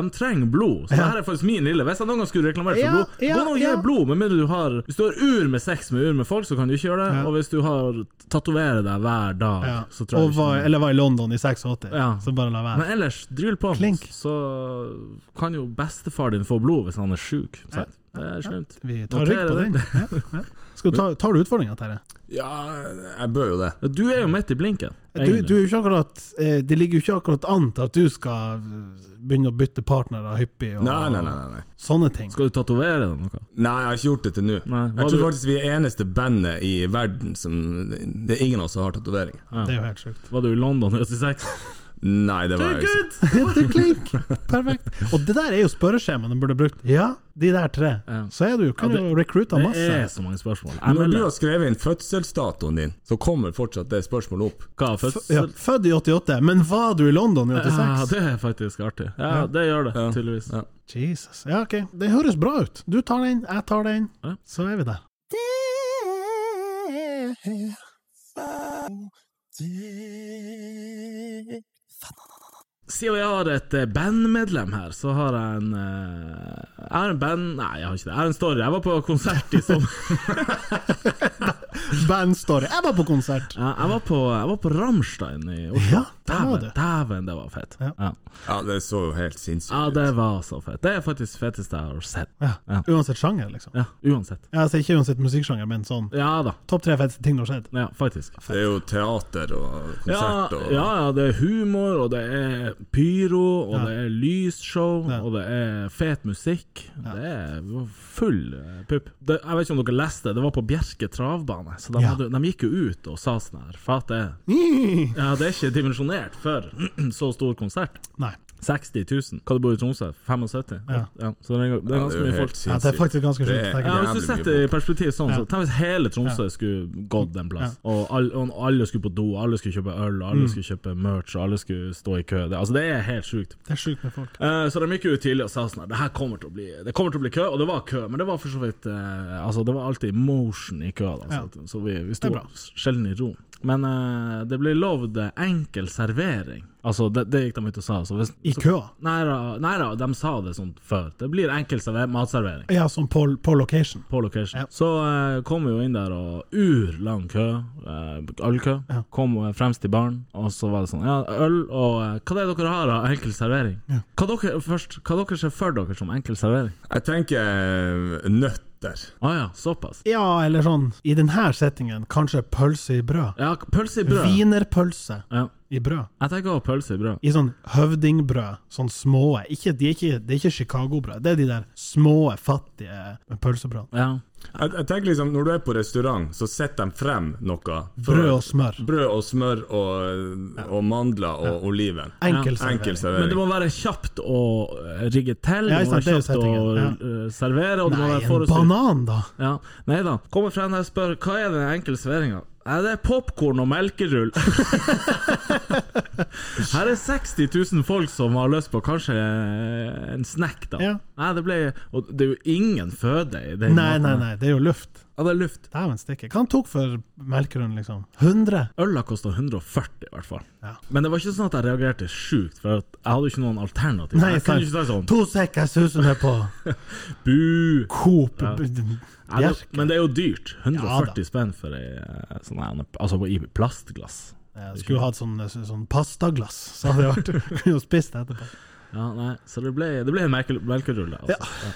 [SPEAKER 3] de trenger blod. Så det her er faktisk min lille Hvis jeg noen gang skulle reklamert for
[SPEAKER 4] Ja,
[SPEAKER 3] blod,
[SPEAKER 4] ja,
[SPEAKER 3] gå nå og gi
[SPEAKER 4] ja.
[SPEAKER 3] blod. Med mindre du har Hvis du har ur med sex med ur med folk, så kan du ikke gjøre det.
[SPEAKER 4] Ja.
[SPEAKER 3] Og hvis du har tatoverer deg hver dag,
[SPEAKER 4] Ja.
[SPEAKER 3] så tror jeg
[SPEAKER 4] og
[SPEAKER 3] ikke
[SPEAKER 4] var, eller var i London i 86,
[SPEAKER 3] Ja.
[SPEAKER 4] så bare la være.
[SPEAKER 3] Men ellers, dryl på,
[SPEAKER 4] Klink.
[SPEAKER 3] så kan jo bestefar din få blod hvis han er sjuk. Så Det er slemt.
[SPEAKER 4] Vi tar rygg på
[SPEAKER 3] Noterer
[SPEAKER 4] den. Ja, ja. Skal du ta, tar du utfordringa, Terje?
[SPEAKER 2] Ja, jeg bør jo det.
[SPEAKER 3] Du er jo midt i blinken.
[SPEAKER 4] Du, du er jo ikke akkurat eh, Det ligger jo ikke akkurat an til at du skal eh, begynne å bytte partnere hyppig og
[SPEAKER 2] Nei, nei, nei. nei, nei.
[SPEAKER 4] sånne ting.
[SPEAKER 3] Skal du tatovere deg noe?
[SPEAKER 2] Nei, jeg har ikke gjort det til nå.
[SPEAKER 3] Nei, hva
[SPEAKER 2] Jeg tror
[SPEAKER 3] du-
[SPEAKER 2] faktisk vi er eneste bandet i verden som Det er ingen av oss som har tatoveringer.
[SPEAKER 4] Det er jo helt sjukt. (laughs)
[SPEAKER 3] Var du i London i 86?
[SPEAKER 2] Nei, det var jeg ikke.
[SPEAKER 4] du er klink! Perfekt. Og det der er jo spørreskjemaet de burde brukt. Ja, de der tre.
[SPEAKER 3] Ja.
[SPEAKER 4] Så er du jo kunne
[SPEAKER 3] Ja, det-
[SPEAKER 4] jo rekrutta
[SPEAKER 3] Det
[SPEAKER 4] masse.
[SPEAKER 3] er så mange spørsmål. Jeg
[SPEAKER 2] Når du
[SPEAKER 3] melder
[SPEAKER 2] har skrevet inn fødselsdatoen din, så kommer fortsatt det spørsmålet opp.
[SPEAKER 3] hva
[SPEAKER 4] F- Ja,
[SPEAKER 3] fødsel
[SPEAKER 4] født i 88, men var du i London i
[SPEAKER 3] Ja,
[SPEAKER 4] 86?
[SPEAKER 3] det er faktisk artig. Ja, det gjør det,
[SPEAKER 2] Ja.
[SPEAKER 3] tydeligvis.
[SPEAKER 2] Ja.
[SPEAKER 4] Jesus. Ja, ok. Det høres bra ut. Du tar den, jeg tar den,
[SPEAKER 3] Ja.
[SPEAKER 4] så er vi der.
[SPEAKER 3] Siden vi har et eh, bandmedlem her, så har jeg en eh, Jeg har en band... Nei, jeg har ikke det. Jeg har en story. Jeg var på konsert i
[SPEAKER 4] (laughs)
[SPEAKER 3] sommer.
[SPEAKER 4] Bandstory. Jeg var på konsert!
[SPEAKER 3] Ja, jeg, var på, jeg var på Rammstein i Oslo.
[SPEAKER 4] Ja, der var
[SPEAKER 3] Dæven,
[SPEAKER 4] du.
[SPEAKER 3] dæven, det var fett.
[SPEAKER 4] Ja.
[SPEAKER 3] Ja.
[SPEAKER 2] Ja, det så jo helt sinnssykt
[SPEAKER 3] Ja,
[SPEAKER 2] ut.
[SPEAKER 3] det var så fett. Det er faktisk feteste jeg har sett.
[SPEAKER 4] Ja.
[SPEAKER 3] Ja.
[SPEAKER 4] Uansett sjanger, liksom.
[SPEAKER 3] Ja, uansett.
[SPEAKER 4] Ja, altså, ikke uansett musikksjanger, men sånn
[SPEAKER 3] Ja da.
[SPEAKER 4] topp tre feteste ting som har skjedd.
[SPEAKER 3] Ja, faktisk.
[SPEAKER 2] Det er jo teater og
[SPEAKER 3] Ja,
[SPEAKER 2] konsert og
[SPEAKER 3] ja, ja, det er humor, og det er pyro, og det er lysshow,
[SPEAKER 4] Ja.
[SPEAKER 3] og det er fet musikk. Det er full eh, pupp. Det, jeg vet ikke om dere leste, det var på Bjerke travbane, så de,
[SPEAKER 4] Ja.
[SPEAKER 3] hadde, de gikk jo ut og sa sånn her Fatt det.
[SPEAKER 4] Nei.
[SPEAKER 3] Ja, det er ikke dimensjonert for (clears throat) så stor konsert. 60 000. Hva det bor i Tromsø? 75?
[SPEAKER 4] Ja.
[SPEAKER 3] så det er, det er ganske
[SPEAKER 2] jo
[SPEAKER 3] mye
[SPEAKER 2] helt
[SPEAKER 3] folk.
[SPEAKER 4] Ja, det er faktisk ganske
[SPEAKER 2] Det
[SPEAKER 4] sjukt.
[SPEAKER 2] er-
[SPEAKER 4] tenker jeg.
[SPEAKER 3] Ja, Hvis du
[SPEAKER 2] Jævlig
[SPEAKER 3] setter
[SPEAKER 2] mye
[SPEAKER 3] det i perspektiv sånn,
[SPEAKER 4] Ja.
[SPEAKER 3] så tenk hvis hele Tromsø skulle gått en plass, og, all, og alle skulle på do, alle skulle kjøpe øl, og
[SPEAKER 4] Mm.
[SPEAKER 3] alle skulle kjøpe merch, og alle skulle stå i kø. Det, altså, det er helt sjukt.
[SPEAKER 4] Det er sjukt med folk.
[SPEAKER 3] Eh, så de gikk jo ut tidlig og sa sånn her, det her kommer til å bli Det kommer til å bli kø, og det var kø, men det var for så vidt eh, Altså, det var alltid motion i køa, da, så, så vi, vi sto
[SPEAKER 4] Det er bra.
[SPEAKER 3] sjelden i ro. Men eh, det ble lovd enkel servering. Altså, det, det gikk de ut og sa. Så hvis,
[SPEAKER 4] I kø.
[SPEAKER 3] nei da, nei da, de sa det sånn før. Det blir enkel server, matservering
[SPEAKER 4] Ja, sånn på, på location.
[SPEAKER 3] på location.
[SPEAKER 4] Ja.
[SPEAKER 3] Så eh, kom vi jo inn der, og urlang kø, eh, ølkø.
[SPEAKER 4] Ja.
[SPEAKER 3] Kom eh, fremst i baren, og så var det sånn Ja, øl og eh, Hva det er dere har av enkel servering?
[SPEAKER 4] Ja.
[SPEAKER 3] Hva dere, først, hva dere ser for dere som enkel servering?
[SPEAKER 2] Jeg tenker eh, nøtter.
[SPEAKER 3] Å ja, såpass.
[SPEAKER 4] Ja, eller sånn I denne settingen, kanskje pølse i brød.
[SPEAKER 3] Ja, pølse i brød.
[SPEAKER 4] Wienerpølse
[SPEAKER 3] Ja.
[SPEAKER 4] i brød.
[SPEAKER 3] Jeg tenker også pølse i brød.
[SPEAKER 4] I sånn høvdingbrød, sånn små ikke, de er ikke, Det er ikke Chicago-brød, det er de der små, fattige pølsebrødene.
[SPEAKER 3] Ja.
[SPEAKER 2] Jeg, jeg tenker liksom, Når du er på restaurant, så setter de frem noe. For-
[SPEAKER 4] Brød og smør.
[SPEAKER 2] Brød og smør og, og mandler og oliven.
[SPEAKER 4] Enkel servering.
[SPEAKER 2] Enkel
[SPEAKER 3] Men
[SPEAKER 2] servering.
[SPEAKER 3] det må være kjapt å eh, rigge til,
[SPEAKER 4] Ja,
[SPEAKER 3] det må
[SPEAKER 4] sant, det er
[SPEAKER 3] være
[SPEAKER 4] jo
[SPEAKER 3] kjapt å eh, servere, og det må
[SPEAKER 4] Nei,
[SPEAKER 3] være
[SPEAKER 4] en
[SPEAKER 3] forutsigbar.
[SPEAKER 4] banan, da!
[SPEAKER 3] Ja. Nei da. Kommer frem der og spør hva er den enkle serveringa. Ja, det er popkorn og melkerull. (laughs) Her er 60 000 folk som har lyst på kanskje en snack, da.
[SPEAKER 4] Ja.
[SPEAKER 3] Nei, det ble Og det er jo ingen føde i den
[SPEAKER 4] Nei,
[SPEAKER 3] maten.
[SPEAKER 4] nei, nei, det er jo luft.
[SPEAKER 3] Ja, det er luft.
[SPEAKER 4] Dæven stikke. Hva han tok for melkerund, liksom? 100?
[SPEAKER 3] Øla kosta 140, i hvert fall.
[SPEAKER 4] Ja.
[SPEAKER 3] Men det var ikke sånn at jeg reagerte sjukt, for at jeg hadde jo ikke noen alternativ.
[SPEAKER 4] Nei,
[SPEAKER 3] jeg kunne
[SPEAKER 4] sant.
[SPEAKER 3] ikke si sånn
[SPEAKER 4] To sekker suser ned på
[SPEAKER 3] Bu!
[SPEAKER 4] Coop b-
[SPEAKER 3] Ja, det,
[SPEAKER 4] Bjerke.
[SPEAKER 3] men det er jo dyrt.
[SPEAKER 4] Ja, da.
[SPEAKER 3] 140 spenn for ei eh, sånn her, Altså i plastglass.
[SPEAKER 4] Jeg Skulle hatt sånn, sånn pastaglass, så hadde det vært Kunne jo spist det etterpå.
[SPEAKER 3] Ja, nei, så det ble, det ble en melke- melkerulle. Altså.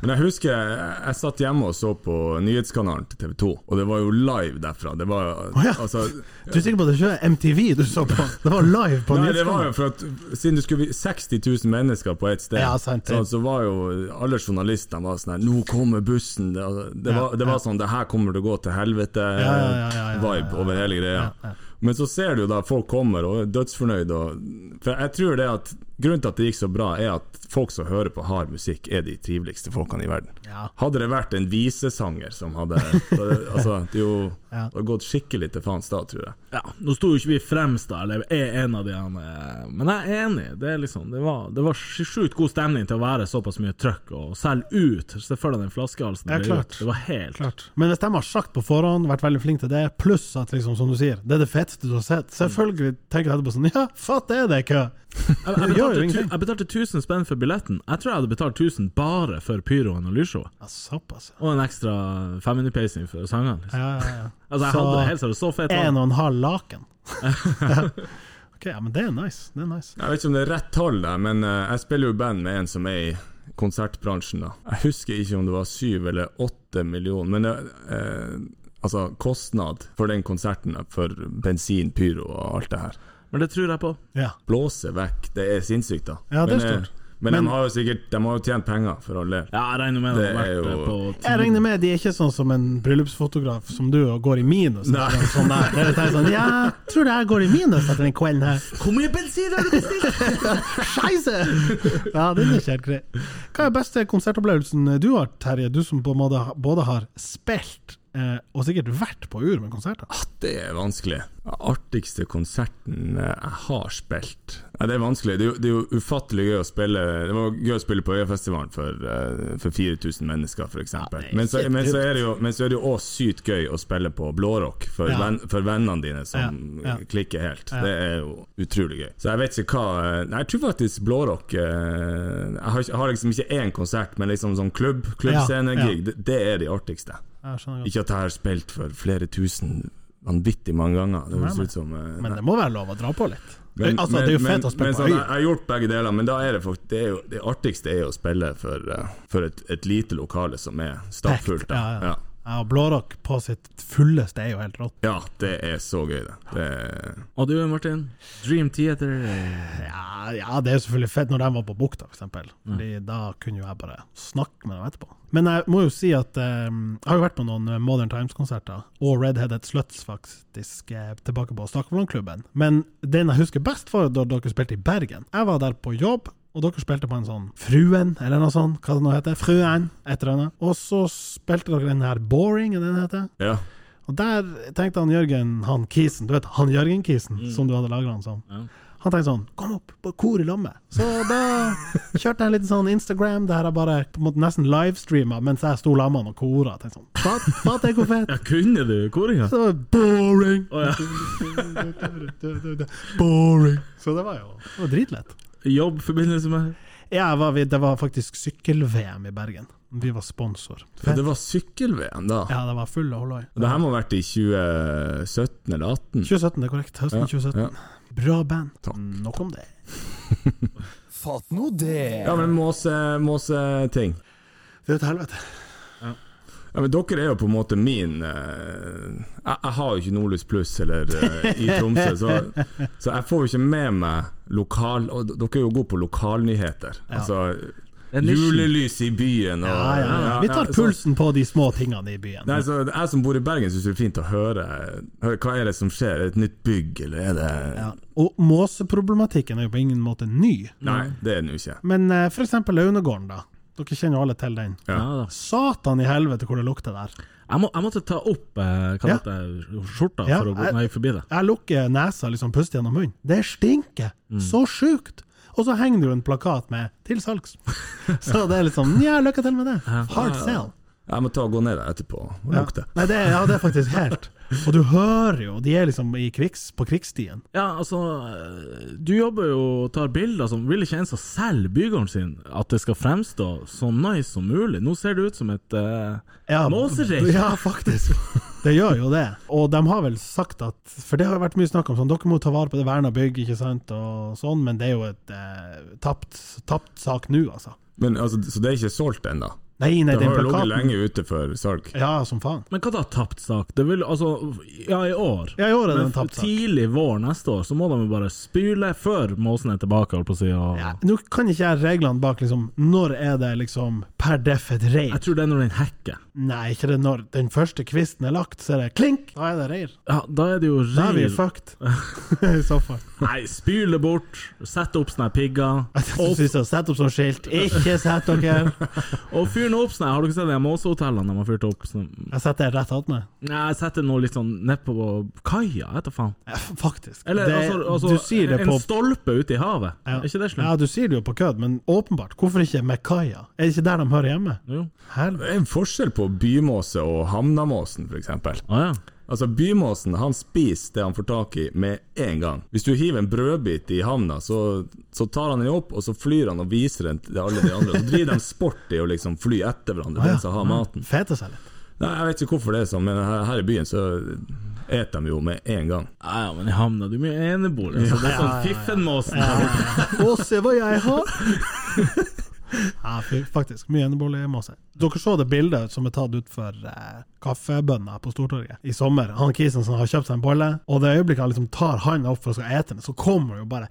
[SPEAKER 2] Men jeg husker jeg, jeg satt hjemme og så på nyhetskanalen til TV 2, og det var jo live derfra. Det var
[SPEAKER 4] ja.
[SPEAKER 2] altså
[SPEAKER 4] Du er sikker på at det ikke var MTV du så på? Det var live på
[SPEAKER 2] Nei, det var
[SPEAKER 4] nyhetskanalen.
[SPEAKER 2] jo for at siden du skulle vi- 60 000 mennesker på ett sted,
[SPEAKER 4] Ja, sant,
[SPEAKER 2] så, så var jo alle journalistene var sånn her 'Nå kommer bussen!' Det, det,
[SPEAKER 4] Ja,
[SPEAKER 2] var, det var sånn 'Det her kommer til å gå til helvete'-vibe
[SPEAKER 4] Ja, ja, ja, ja, ja, ja, ja,
[SPEAKER 2] over hele greia. Men så ser du jo da folk kommer og er dødsfornøyd og For jeg tror det at grunnen til at det gikk så bra, er at folk som hører på hard musikk, er de triveligste folkene i verden.
[SPEAKER 4] Ja.
[SPEAKER 2] Hadde det vært en visesanger som hadde så det, Altså, det er jo det
[SPEAKER 4] Ja.
[SPEAKER 2] hadde gått skikkelig til faens da, tror jeg.
[SPEAKER 3] Ja, Nå sto jo ikke vi fremst, da, eller er en av de han eh, Men jeg er enig. Det er liksom Det var, det var sj- sjukt god stemning til å være såpass mye trøkk, og selge ut. Se for deg den flaskehalsen.
[SPEAKER 4] Ja,
[SPEAKER 3] det ble
[SPEAKER 4] klart.
[SPEAKER 3] gjort. Det var helt
[SPEAKER 4] Klart. Men hvis de har sagt på forhånd, vært veldig flink til det, pluss at liksom, som du sier, det er det feteste du har sett, selvfølgelig tenker jeg etterpå sånn Ja, fatt er det kø!
[SPEAKER 3] Jeg, jeg,
[SPEAKER 4] Det gjør jo
[SPEAKER 3] betalte, tu-
[SPEAKER 4] ingenting.
[SPEAKER 3] jeg betalte 1000 spenn for billetten. Jeg tror jeg hadde betalt 1000 bare for pyroen og lysshowet.
[SPEAKER 4] Ja, såpass, ja.
[SPEAKER 3] Og en ekstra 500 pacing for sangene. Liksom.
[SPEAKER 4] Ja, ja, ja.
[SPEAKER 3] Altså, jeg
[SPEAKER 4] Så-
[SPEAKER 3] hadde det helt seriøst så fett.
[SPEAKER 4] En
[SPEAKER 3] var det.
[SPEAKER 4] og en halv laken. ja. Ok, ja, men det er nice. Det er nice.
[SPEAKER 2] Jeg vet ikke om det er rett tall, der, men eh, jeg spiller jo i band med en som er i konsertbransjen. da. Jeg husker ikke om det var syv eller åtte millioner, men det, eh, altså kostnad for den konserten, da, for bensin, pyro og alt det her.
[SPEAKER 3] Men det tror jeg på.
[SPEAKER 4] Ja.
[SPEAKER 2] Blåse vekk, det er sinnssykt, da.
[SPEAKER 4] Ja, det er
[SPEAKER 2] men, eh,
[SPEAKER 4] stort.
[SPEAKER 2] Men, de har jo sikkert de har jo tjent penger for all del.
[SPEAKER 3] Ja, jeg regner med det,
[SPEAKER 2] Det
[SPEAKER 3] har
[SPEAKER 2] er
[SPEAKER 3] vært
[SPEAKER 2] jo-
[SPEAKER 3] eh, på ti-
[SPEAKER 4] Jeg regner med de er ikke sånn som en bryllupsfotograf som du og går i minus.
[SPEAKER 2] Nei.
[SPEAKER 4] Sånn der. Det er litt sånn, ja, tror det her går i minus etter den kvelden her.
[SPEAKER 3] Hvor mye bensin har du bestilt?!
[SPEAKER 4] Scheisse! Ja, den er ikke helt grei. Hva er beste konsertopplevelsen du har, Terje? Du som på en måte både har spilt eh, og sikkert vært på ur med konserter.
[SPEAKER 2] Ah, Det er vanskelig. Artigste konserten eh, jeg har spilt Nei, Det er vanskelig. Det er, jo, det er jo ufattelig gøy å spille Det var gøy å spille på Øyafestivalen for, eh, for 4000 mennesker, f.eks. men, så, men, så er det jo- men så er det jo òg sykt gøy å spille på blårock for,
[SPEAKER 4] Ja.
[SPEAKER 2] venn, for vennene dine som
[SPEAKER 4] Ja, ja.
[SPEAKER 2] klikker helt. Det er jo utrolig gøy. Så jeg vet ikke hva eh, Nei, jeg tror faktisk blårock eh, Jeg har, ikke- jeg har liksom ikke én konsert, men liksom sånn klubb, klubbscenegig. Det, det er de artigste.
[SPEAKER 4] Jeg skjønner godt.
[SPEAKER 2] Ikke at jeg har spilt for flere tusen vanvittig mange ganger. Det
[SPEAKER 4] Nei,
[SPEAKER 2] høres
[SPEAKER 4] nei.
[SPEAKER 2] ut som eh,
[SPEAKER 4] Men
[SPEAKER 2] nei.
[SPEAKER 4] det må være lov å dra på litt.
[SPEAKER 2] Men-
[SPEAKER 4] altså, det er jo
[SPEAKER 2] men-
[SPEAKER 4] fett å spille
[SPEAKER 2] men
[SPEAKER 4] på
[SPEAKER 2] sånn,
[SPEAKER 4] øyer.
[SPEAKER 2] Jeg jeg har gjort begge deler, men da er det faktisk Det, er jo, det artigste er jo å spille for, eh, for et, et lite lokale som er stappfullt. da.
[SPEAKER 4] Ja, ja.
[SPEAKER 2] Ja.
[SPEAKER 4] Ja, og Blårock på sitt fulleste er jo helt rått.
[SPEAKER 2] ja, det er så gøy, det. det er,
[SPEAKER 3] Og du, Martin? Dream Theater. eh,
[SPEAKER 4] Ja, ja, det er jo selvfølgelig fett når de var på Bukta, f.eks. Fordi da kunne jo jeg bare snakke med dem etterpå. Men jeg må jo si at eh, jeg har jo vært på noen eh, Modern Times-konserter, og Redheaded Sluts faktisk eh, tilbake på Stakkevollklubben. Men den jeg husker best, var da dere spilte i Bergen. Jeg var der på jobb. Og dere spilte på en sånn Fruen, eller noe sånt, hva det nå heter. Fruen, et eller annet. Og så spilte dere den her Boring, er det den heter?
[SPEAKER 2] ja.
[SPEAKER 4] Og der tenkte han Jørgen, han Kisen, du vet han Jørgen Kisen, som du hadde lagra han som.
[SPEAKER 3] Ja.
[SPEAKER 4] Han tenkte sånn Kom opp, på kor i lammet. Så da kjørte jeg litt sånn Instagram, der jeg bare på en måte nesten livestreama mens jeg sto lammet og kora. Tenkte sånn Fatt, fatt jeg hvor fett.
[SPEAKER 3] Ja, kunne du koringa?
[SPEAKER 4] Så det var boring.
[SPEAKER 3] Å ja.
[SPEAKER 4] (laughs) Boring. Så det var jo det var dritlett.
[SPEAKER 3] Jobbforbindelse med
[SPEAKER 4] Ja, jeg var, vid- det var faktisk sykkel-VM i Bergen. Vi var sponsor.
[SPEAKER 2] Ja, Det var sykkel-VM, da.
[SPEAKER 4] Ja, det var full halloi.
[SPEAKER 2] Det her må ha vært i 2017 eller 2018.
[SPEAKER 4] 2017, det er korrekt. Høsten 2017.
[SPEAKER 2] Ja.
[SPEAKER 4] Bra band.
[SPEAKER 2] Takk.
[SPEAKER 4] Nok om det.
[SPEAKER 5] Fatt nå det!
[SPEAKER 2] Ja, men måse- måseting.
[SPEAKER 4] Det er et helvete.
[SPEAKER 2] Ja, men dere er jo på en måte min eh, jeg, jeg har jo ikke Nordlys Pluss eller eh, i Tromsø, så, så jeg får jo ikke med meg lokal... Og d- dere er jo gode på lokalnyheter. Altså julelys i byen og
[SPEAKER 4] Ja, ja, ja. Vi tar
[SPEAKER 2] ja, så-
[SPEAKER 4] pulsen på de små tingene i byen.
[SPEAKER 2] Nei, så Jeg som bor i Bergen, syns det er fint å høre, høre Hva er det som skjer? Er det et nytt bygg, eller er det
[SPEAKER 4] Ja. Og måseproblematikken er jo på ingen måte ny.
[SPEAKER 2] Nei, det er det jo ikke.
[SPEAKER 4] Men eh, for eksempel Launegården, da. Dere kjenner jo alle til den.
[SPEAKER 2] Ja.
[SPEAKER 3] Ja da.
[SPEAKER 4] Satan i helvete hvor det lukter der.
[SPEAKER 3] Jeg, må, jeg måtte ta opp eh, hva
[SPEAKER 4] Ja.
[SPEAKER 3] heter det, skjorta
[SPEAKER 4] Ja,
[SPEAKER 3] for å gå
[SPEAKER 4] jeg-
[SPEAKER 3] når jeg gikk forbi det.
[SPEAKER 4] Jeg lukker nesa, liksom puster gjennom munnen. Det stinker! Så sjukt! Og så henger det jo en plakat med 'til salgs'. (laughs) Så det er liksom Ja, lykke til med det. Hard sell.
[SPEAKER 2] Jeg må ta og gå ned der etterpå og
[SPEAKER 4] Ja.
[SPEAKER 2] lukte.
[SPEAKER 4] Nei, det er, ja, det er faktisk helt. Og du hører jo, de er liksom i krigs, på krigsstien.
[SPEAKER 3] Ja, altså eh, Du jobber jo og tar bilder som Vil ikke en som selger bygården sin, at det skal fremstå så nice som mulig? Nå ser det ut som et eh,
[SPEAKER 4] Ja,
[SPEAKER 3] måsereir.
[SPEAKER 4] Ja, faktisk. Det gjør jo det. Og de har vel sagt at For det har jo vært mye snakk om sånn, dere må ta vare på det verna bygg, ikke sant, og sånn, men det er jo et eh, tapt, tapt sak nå, altså.
[SPEAKER 2] Men altså, Så det er ikke solgt ennå?
[SPEAKER 4] Nei, nei,
[SPEAKER 2] Det
[SPEAKER 4] den
[SPEAKER 2] har jo ligget
[SPEAKER 4] plakaten
[SPEAKER 2] lenge ute for salg.
[SPEAKER 4] Ja, som faen.
[SPEAKER 3] Men hva da tapt sak? Det vil, altså, ja, i år.
[SPEAKER 4] Ja, i år er det
[SPEAKER 3] Men
[SPEAKER 4] en tapt sak.
[SPEAKER 3] tidlig vår neste år så må de jo bare spyle før Måsen er tilbake, holdt på å si. Og...
[SPEAKER 4] Ja, nå kan ikke jeg reglene bak liksom Når er det liksom per deff et
[SPEAKER 3] Jeg
[SPEAKER 4] reir?
[SPEAKER 3] tror det er når den hacker.
[SPEAKER 4] Nei, ikke det når den første kvisten er lagt, så er det klink! Da er det reir.
[SPEAKER 3] Ja, da er det jo
[SPEAKER 4] Da er vi
[SPEAKER 3] reir.
[SPEAKER 4] fucked. (laughs) I så fall.
[SPEAKER 3] Nei, spyl det bort. Sett opp sånne pigger.
[SPEAKER 4] Jeg synes jeg Sett opp sånn skilt. Ikke sett dere!
[SPEAKER 3] Og fyr nå opp sånne Har dere sett de Måsehotellene de har fyrt opp? Sånn.
[SPEAKER 4] Jeg setter det rett attmed.
[SPEAKER 3] Nei, jeg setter noe litt sånn nedpå kaia, vet du faen.
[SPEAKER 4] Ja, (laughs) f- Faktisk.
[SPEAKER 3] Eller
[SPEAKER 4] Det-
[SPEAKER 3] altså, altså
[SPEAKER 4] du sier det
[SPEAKER 3] en
[SPEAKER 4] på
[SPEAKER 3] stolpe ute i havet.
[SPEAKER 4] Ja.
[SPEAKER 3] Er ikke det
[SPEAKER 4] Ja,
[SPEAKER 3] slutt?
[SPEAKER 4] du sier det jo på kødd, men åpenbart. Hvorfor ikke med kaia? Er det ikke der de hører hjemme?
[SPEAKER 3] Jo.
[SPEAKER 4] Helvete.
[SPEAKER 2] Det er en forskjell på bymåse og hamnamåsen, f.eks.
[SPEAKER 3] Å ja.
[SPEAKER 2] Altså, bymåsen han spiser det han får tak i, med en gang. Hvis du hiver en brødbit i havna, så, så tar han den opp, og så flyr han og viser den til alle de andre. Så driver de sport i å liksom fly etter hverandre, den som har maten.
[SPEAKER 4] Fete seg litt.
[SPEAKER 2] Nei, Jeg vet ikke hvorfor det er sånn, men her, her i byen så eter de jo med en gang.
[SPEAKER 3] Ja, ja, men i havna, du er mye enebolig. Så det er sånn Fiffenmåsen.
[SPEAKER 4] (laughs) Å, se hva jeg
[SPEAKER 3] (laughs)
[SPEAKER 4] har! Ja, fy- faktisk. Mye eneboligmåse. Dere så det bildet som er tatt ut for eh, kaffebønna på Stortorget i sommer. Han kisen som har kjøpt seg en bolle, og det øyeblikket han liksom tar handa opp for å skal ete den, så kommer det jo bare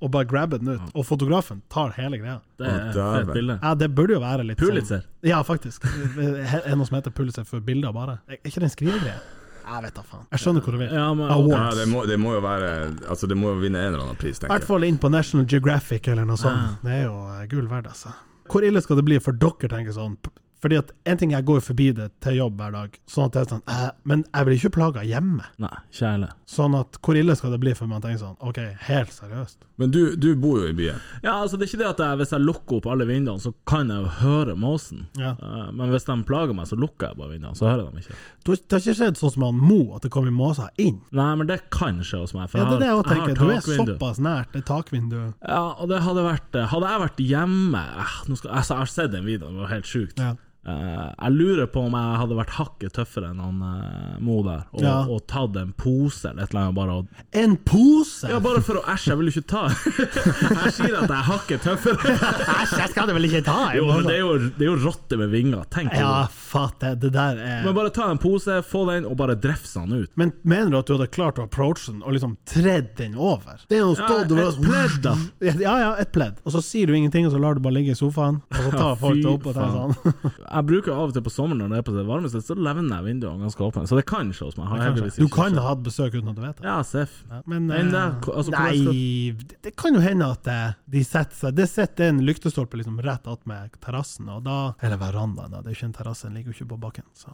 [SPEAKER 4] og bare grabber den ut. Og fotografen tar hele greia.
[SPEAKER 3] Det
[SPEAKER 2] Å,
[SPEAKER 3] er
[SPEAKER 2] dæven.
[SPEAKER 3] et bilde.
[SPEAKER 4] Ja, det burde jo være litt
[SPEAKER 3] Pulitzer.
[SPEAKER 4] Sånn, ja, faktisk. Er det noe som heter Pulitzer for bilder, bare? Er ikke det en skrivegreie? Jeg vet da faen. Jeg skjønner hvor du vil.
[SPEAKER 3] Ja, men-
[SPEAKER 2] Ja,
[SPEAKER 4] Awards.
[SPEAKER 2] det, må, det må jo være Altså, det må jo vinne en eller annen pris,
[SPEAKER 4] I hvert
[SPEAKER 2] tenker jeg.
[SPEAKER 4] fall inn på National Geographic eller noe sånt. Det er jo eh, gull verdt, altså. Hvor ille skal det bli for dere, tenker jeg sånn? P- Fordi at en ting jeg går forbi det til jobb hver dag, sånn at det er sånn eh, Men jeg blir ikke plaga hjemme.
[SPEAKER 3] Nei, kjæle.
[SPEAKER 4] Sånn at hvor ille skal det bli for man tenker sånn OK, helt seriøst.
[SPEAKER 2] Men du, du bor jo i byen.
[SPEAKER 3] Ja, altså det er ikke det at jeg, Hvis jeg lukker opp alle vinduene, så kan jeg jo høre måsen.
[SPEAKER 4] Ja.
[SPEAKER 3] Eh, Men hvis de plager meg, så lukker jeg bare vinduene, så hører jeg dem ikke.
[SPEAKER 4] Du har ikke- Det har ikke skjedd sånn som han Mo, at det kommer måser inn.
[SPEAKER 3] Nei, men det kan skje hos meg. For
[SPEAKER 4] Ja, det er det jeg
[SPEAKER 3] har-
[SPEAKER 4] også tenker. Du er
[SPEAKER 3] takvindu.
[SPEAKER 4] såpass nært det takvinduet.
[SPEAKER 3] Ja, og det hadde vært eh, Hadde jeg vært hjemme eh, nå skal, altså, Jeg har sett den videoen, det var helt sjukt.
[SPEAKER 4] Ja.
[SPEAKER 3] Eh, jeg lurer på om jeg hadde vært hakket tøffere enn han eh, Mo der, og,
[SPEAKER 4] Ja.
[SPEAKER 3] og tatt en pose eller et eller annet. Bare, og,
[SPEAKER 4] En pose!
[SPEAKER 3] ja, bare for å æsje, jeg vil jo ikke ta (laughs) Jeg sier at jeg er hakket tøffere.
[SPEAKER 4] (laughs) Æsj, jeg skal det vel ikke ta?
[SPEAKER 3] Jo, men det er jo, det er jo rotter med vinger, tenk på
[SPEAKER 4] Ja,
[SPEAKER 3] det.
[SPEAKER 4] fatt det. Det der er
[SPEAKER 3] Men bare ta en pose, få den, og bare drefse han
[SPEAKER 4] (laughs)
[SPEAKER 3] ut.
[SPEAKER 4] Men mener du at du hadde klart å approache den og liksom tredd den over? Det er jo stått
[SPEAKER 3] Ja,
[SPEAKER 4] over
[SPEAKER 3] et pledd, da.
[SPEAKER 4] Ja, ja, et pledd. Og så sier du ingenting, og så lar du bare ligge i sofaen, og så tar
[SPEAKER 3] Ja,
[SPEAKER 4] folk
[SPEAKER 3] fy
[SPEAKER 4] det opp og tenker sånn.
[SPEAKER 3] Jeg bruker av og til på sommeren når det er på det varmeste, så levner jeg vinduene ganske åpne. Så det kan skje hos meg. Har jeg heldigvis
[SPEAKER 4] Du
[SPEAKER 3] ikke
[SPEAKER 4] kan
[SPEAKER 3] skjedd.
[SPEAKER 4] ha hatt besøk uten at du vet det.
[SPEAKER 3] Ja, seff.
[SPEAKER 4] Men
[SPEAKER 3] Nei,
[SPEAKER 4] eh,
[SPEAKER 3] nei, ko- altså, hvordan skal-
[SPEAKER 4] nei det, det kan jo hende at eh, de setter seg Det sitter en lyktestolpe liksom rett attmed terrassen, og da Eller verandaen, da. Det er jo ikke en terrasse, den ligger jo ikke på bakken. Så.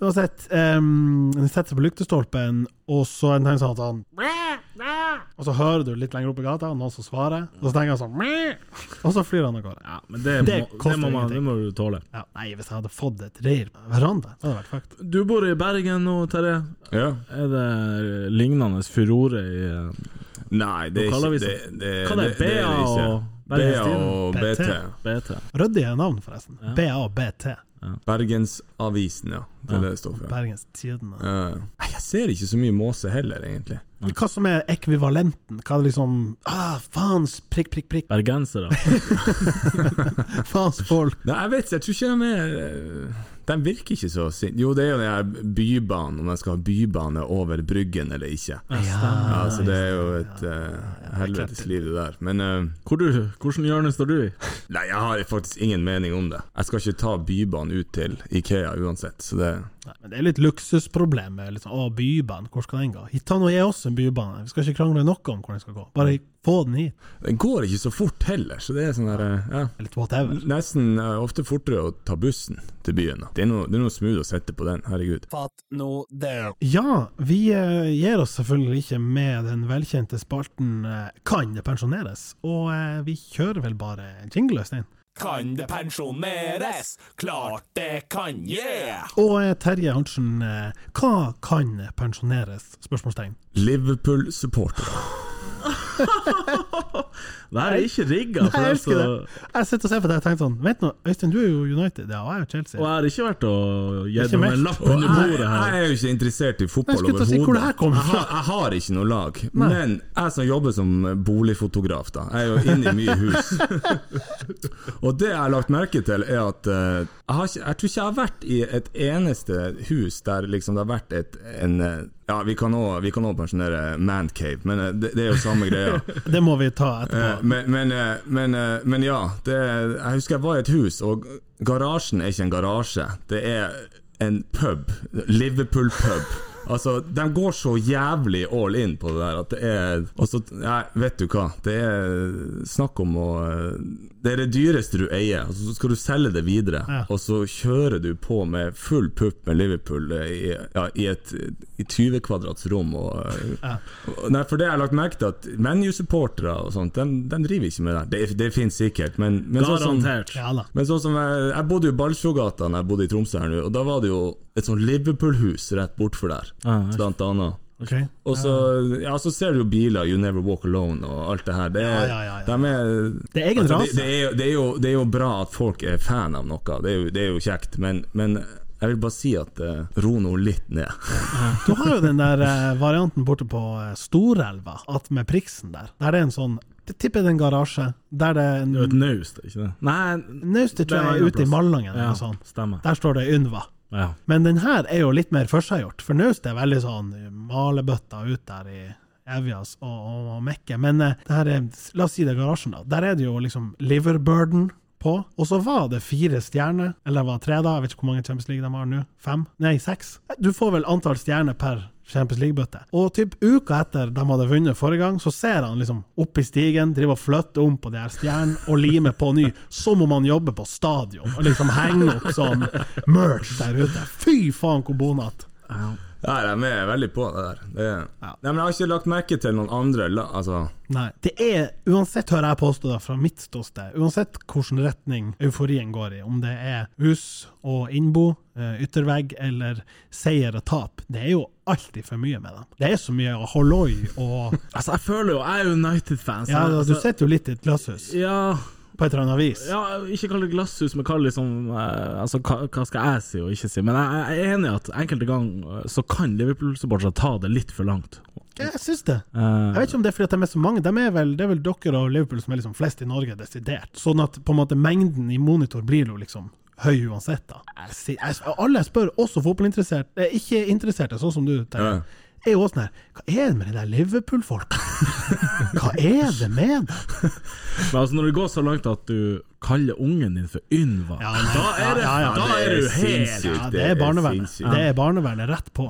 [SPEAKER 4] Uansett, um, den setter seg på lyktestolpen, og så er det en sånn at han sånn, Og så hører du litt lenger opp i gata, noen som svarer, og så tenker han sånn "Mæ!" Og så flyr han av gårde.
[SPEAKER 3] Ja, men det,
[SPEAKER 4] Det
[SPEAKER 3] må, det,
[SPEAKER 4] koster
[SPEAKER 3] må man,
[SPEAKER 4] ingenting.
[SPEAKER 3] det må du tåle.
[SPEAKER 4] Ja, nei, hvis jeg hadde fått et reir på verandaen, så hadde det vært fucked.
[SPEAKER 3] Du bor i Bergen nå, Terje.
[SPEAKER 2] Ja.
[SPEAKER 3] Er det lignende furore i eh,
[SPEAKER 2] Nei, det er ikke
[SPEAKER 3] Lokalavisen.
[SPEAKER 2] det, det,
[SPEAKER 3] Hva det er
[SPEAKER 2] det
[SPEAKER 3] BA
[SPEAKER 2] ikke.
[SPEAKER 3] og
[SPEAKER 2] BA
[SPEAKER 3] Bergens
[SPEAKER 2] og
[SPEAKER 4] BT.
[SPEAKER 2] BT.
[SPEAKER 3] BT?
[SPEAKER 4] Ryddige navn, forresten. BABT.
[SPEAKER 2] Bergensavisen, ja. Det er det det står for.
[SPEAKER 4] Bergens Tidende.
[SPEAKER 2] Ja. Nei, jeg ser ikke så mye måse heller, egentlig.
[SPEAKER 4] Hva som er ekvivalenten? Hva er det liksom ah, Faens prikk, prikk, prikk. (laughs)
[SPEAKER 3] Bergensere.
[SPEAKER 4] Faens folk.
[SPEAKER 2] Nei, jeg vet ikke, jeg tror ikke de er øh, De virker ikke så sinte. Jo, det er jo den her bybanen, om de skal ha bybane over Bryggen eller ikke. Ja, altså det er jo et øh, helvetes liv, det der. Men øh,
[SPEAKER 3] Hvor du, hvordan hjørne står du i?
[SPEAKER 2] (laughs) nei, jeg har faktisk ingen mening om det. Jeg skal ikke ta bybanen ut til Ikea uansett, så det
[SPEAKER 4] Nei, men det er litt luksusproblem med liksom, å, bybanen, hvor skal den gå? Hitano er også en bybane, vi skal ikke krangle noe om hvor den skal gå. Bare
[SPEAKER 2] Mm.
[SPEAKER 4] få den hit.
[SPEAKER 2] Den går ikke så fort heller, så det er sånn der øh, ja.
[SPEAKER 4] Eller whatever.
[SPEAKER 2] Nesten øh, ofte fortere å ta bussen til byen. da. Det er noe, det er noe smooth å sette på den, herregud.
[SPEAKER 5] Fatt nå det.
[SPEAKER 4] Ja, vi eh, gir oss selvfølgelig ikke med den velkjente spalten eh, Kan det pensjoneres? Og eh, vi kjører vel bare jingle, Øystein?
[SPEAKER 5] Kan det pensjoneres? Klart det kan, yeah!
[SPEAKER 4] Og eh, Terje Arntzen, eh, hva kan pensjoneres? Spørsmålstegn.
[SPEAKER 2] Liverpool-supporter.
[SPEAKER 3] Det her er ikke altså. rigga.
[SPEAKER 4] Nei, jeg elsker det. Jeg sitter og ser på det og tenker sånn Vent nå, Øystein, du er jo United. Ja, jeg er jo Chelsea.
[SPEAKER 3] Og jeg har ikke vært og gitt
[SPEAKER 4] Ikke
[SPEAKER 3] dem
[SPEAKER 4] meldt.
[SPEAKER 3] en lapp
[SPEAKER 2] Og
[SPEAKER 3] under
[SPEAKER 2] jeg,
[SPEAKER 3] bordet
[SPEAKER 2] jeg
[SPEAKER 3] her.
[SPEAKER 2] er jo ikke interessert i
[SPEAKER 4] Jeg
[SPEAKER 2] fotball
[SPEAKER 4] skulle til å si hvor det her kom
[SPEAKER 2] Jeg,
[SPEAKER 4] fra.
[SPEAKER 2] har- jeg har ikke noe lag, men jeg som jobber som eh, boligfotograf, da, jeg er jo inne i mye
[SPEAKER 4] (laughs)
[SPEAKER 2] hus. Og det jeg har lagt merke til, er at eh, jeg, har ikke, jeg tror ikke jeg har vært i et eneste hus der liksom det har vært et, en eh, Ja, vi kan òg pensjonere Mancave, men eh, det, det er jo samme greia.
[SPEAKER 4] Det må vi ta etterpå.
[SPEAKER 2] Eh, Men, men, eh, men, eh, men ja, det, jeg husker jeg var i et hus, og garasjen er ikke en garasje. Det er en pub. Liverpool-pub. Altså, De går så jævlig all in på det der at det er Og så, nei, vet du hva. Det er snakk om å eh, Det er det dyreste du eier, og så skal du selge det videre.
[SPEAKER 4] Ja.
[SPEAKER 2] Og så kjører du på med full pupp med Liverpool eh, i, ja, i et i 20 kvadrats rom. Og, eh, Nei, for det jeg har lagt merke til at ManU-supportere og sånt, de, de driver ikke med det. Det, det finnes sikkert, men, men sånn som
[SPEAKER 3] Garantert.
[SPEAKER 4] Ja da.
[SPEAKER 2] men sånn som jeg, jeg bodde jo i Balsfjordgata da jeg bodde i Tromsø her nå, og da var det jo et sånn Liverpool-hus rett bortfor der,
[SPEAKER 3] Ah, ja.
[SPEAKER 2] blant annet.
[SPEAKER 4] Ok.
[SPEAKER 2] Og så,
[SPEAKER 4] Ah.
[SPEAKER 2] ja, så ser du jo biler, You Never Walk Alone og alt det her. Det er,
[SPEAKER 4] Ja, ja, ja, ja.
[SPEAKER 2] De er,
[SPEAKER 4] Altså,
[SPEAKER 2] Altså,
[SPEAKER 4] Det er egen
[SPEAKER 2] det, det,
[SPEAKER 4] rase.
[SPEAKER 2] er, jo- det, er jo, det er jo bra at folk er fan av noe, det er jo, det er jo kjekt, men, men jeg vil bare si at eh, ro nå litt ned. (laughs)
[SPEAKER 4] (laughs) Du har jo den der eh, varianten borte på eh, Storelva, at med priksen der. Der det er en sånn Jeg tipper det er en garasje. Der det er
[SPEAKER 3] Det er jo et
[SPEAKER 4] en
[SPEAKER 3] naust, ikke det? Nei,
[SPEAKER 4] Naustet tror jeg er ute i Malangen eller
[SPEAKER 3] ja,
[SPEAKER 4] noe sånt.
[SPEAKER 3] stemmer.
[SPEAKER 4] Der står det Ynva.
[SPEAKER 3] Ja.
[SPEAKER 4] Men den her er jo litt mer førseggjort, for naust er veldig sånn malebøtta ut der i Evjas og, og, og Mekke. Men eh, det her er, la oss si det er garasjen, da. Der er det jo liksom liverburden på, og så var det fire stjerner, eller det var tre da, jeg vet ikke hvor mange Champions League de har nå, fem? Nei, seks. Du får vel antall stjerner per Champions League-bøtte. Og typ uka etter de hadde vunnet forrige gang, så ser han liksom opp i stigen, driver og flytter om på de her stjernene og limer på ny, som om han jobber på stadion, og liksom henger opp sånn merch der ute. Fy faen, hvor bonat!
[SPEAKER 2] Nei, de er veldig på det der. Det,
[SPEAKER 4] Ja.
[SPEAKER 2] Nei, men jeg har ikke lagt merke til noen andre, la, altså...
[SPEAKER 4] Nei. Det er, uansett hører jeg påstå det fra mitt ståsted, uansett hvilken retning euforien går i, om det er hus og innbo, eh, yttervegg eller seier og tap, det er jo alltid for mye med dem. Det er så mye halloi og
[SPEAKER 3] Altså, jeg føler jo Jeg er United-fan. så
[SPEAKER 4] Ja,
[SPEAKER 3] jeg-
[SPEAKER 4] du
[SPEAKER 3] altså-
[SPEAKER 4] sitter jo litt i et glasshus,
[SPEAKER 3] Ja,
[SPEAKER 4] på et eller annet vis.
[SPEAKER 3] ja, ikke kall det glasshus, men kall det liksom eh, Altså, hva, hva skal jeg si og ikke si? Men jeg, jeg er enig i at enkelte ganger eh, så kan Liverpool-supportere ta det litt for langt.
[SPEAKER 4] Ja, jeg syns det.
[SPEAKER 3] Eh,
[SPEAKER 4] Jeg vet ikke om det er fordi at de er så mange. De er vel, det er vel dere og Liverpool som er liksom flest i Norge, desidert. Sånn at på en måte mengden i monitor blir jo liksom høy uansett, da. Jeg, sier- jeg, alle jeg spør, også fotballinteresserte, eh, ikke interesserte, sånn som du, Terje,
[SPEAKER 2] Ja.
[SPEAKER 4] er jo også sånn her Hva er det med de der Liverpool-folka? (laughs) Hva er det med dem?
[SPEAKER 3] Men altså, når det går så langt at du kaller ungen din for Ynva
[SPEAKER 4] Ja, nei,
[SPEAKER 3] Da er det,
[SPEAKER 4] ja, ja, ja.
[SPEAKER 3] da er
[SPEAKER 2] Det er
[SPEAKER 3] du helt
[SPEAKER 2] sinnssykt.
[SPEAKER 4] Ja, det
[SPEAKER 2] Det er
[SPEAKER 4] er barnevernet.
[SPEAKER 2] sinnssykt.
[SPEAKER 4] Det er barnevernet rett på.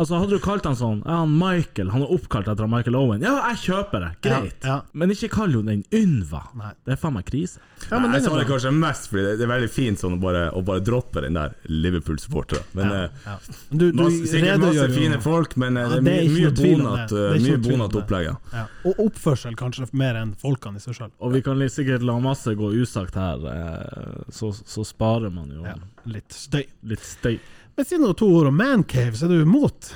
[SPEAKER 3] Altså Hadde du kalt han sånn Ja, han Michael Han er oppkalt etter han Michael Owen. Ja, jeg kjøper det! Greit.
[SPEAKER 4] Ja, ja.
[SPEAKER 3] Men ikke kall jo den Ynva.
[SPEAKER 4] Nei.
[SPEAKER 3] Det er faen meg krise.
[SPEAKER 4] Ja, men
[SPEAKER 2] Nei,
[SPEAKER 4] den er
[SPEAKER 2] jeg sa det
[SPEAKER 4] bra.
[SPEAKER 2] kanskje mest fordi det, det er veldig fint sånn å bare, å bare droppe den der Liverpool-supporteren. Men
[SPEAKER 4] Ja,
[SPEAKER 2] eh,
[SPEAKER 4] ja. Du, du
[SPEAKER 2] masse, sikkert masse
[SPEAKER 4] redegjør jo-
[SPEAKER 2] fine folk, men eh,
[SPEAKER 4] Ja,
[SPEAKER 2] det er
[SPEAKER 4] ikke
[SPEAKER 2] mye
[SPEAKER 4] noe tvil om
[SPEAKER 2] bonat,
[SPEAKER 4] det.
[SPEAKER 2] eh,
[SPEAKER 4] Det er ikke
[SPEAKER 2] mye
[SPEAKER 4] noe tvil om
[SPEAKER 2] bonat
[SPEAKER 4] det.
[SPEAKER 2] opplegg. ja.
[SPEAKER 4] Ja. Og oppførsel, kanskje, mer enn folkene i seg sjøl.
[SPEAKER 3] Og vi kan litt sikkert la masse gå usagt her, eh, så, så sparer man jo
[SPEAKER 4] Ja. Litt støy.
[SPEAKER 3] litt støy.
[SPEAKER 4] Men si nå to ord om mancave, så er du imot.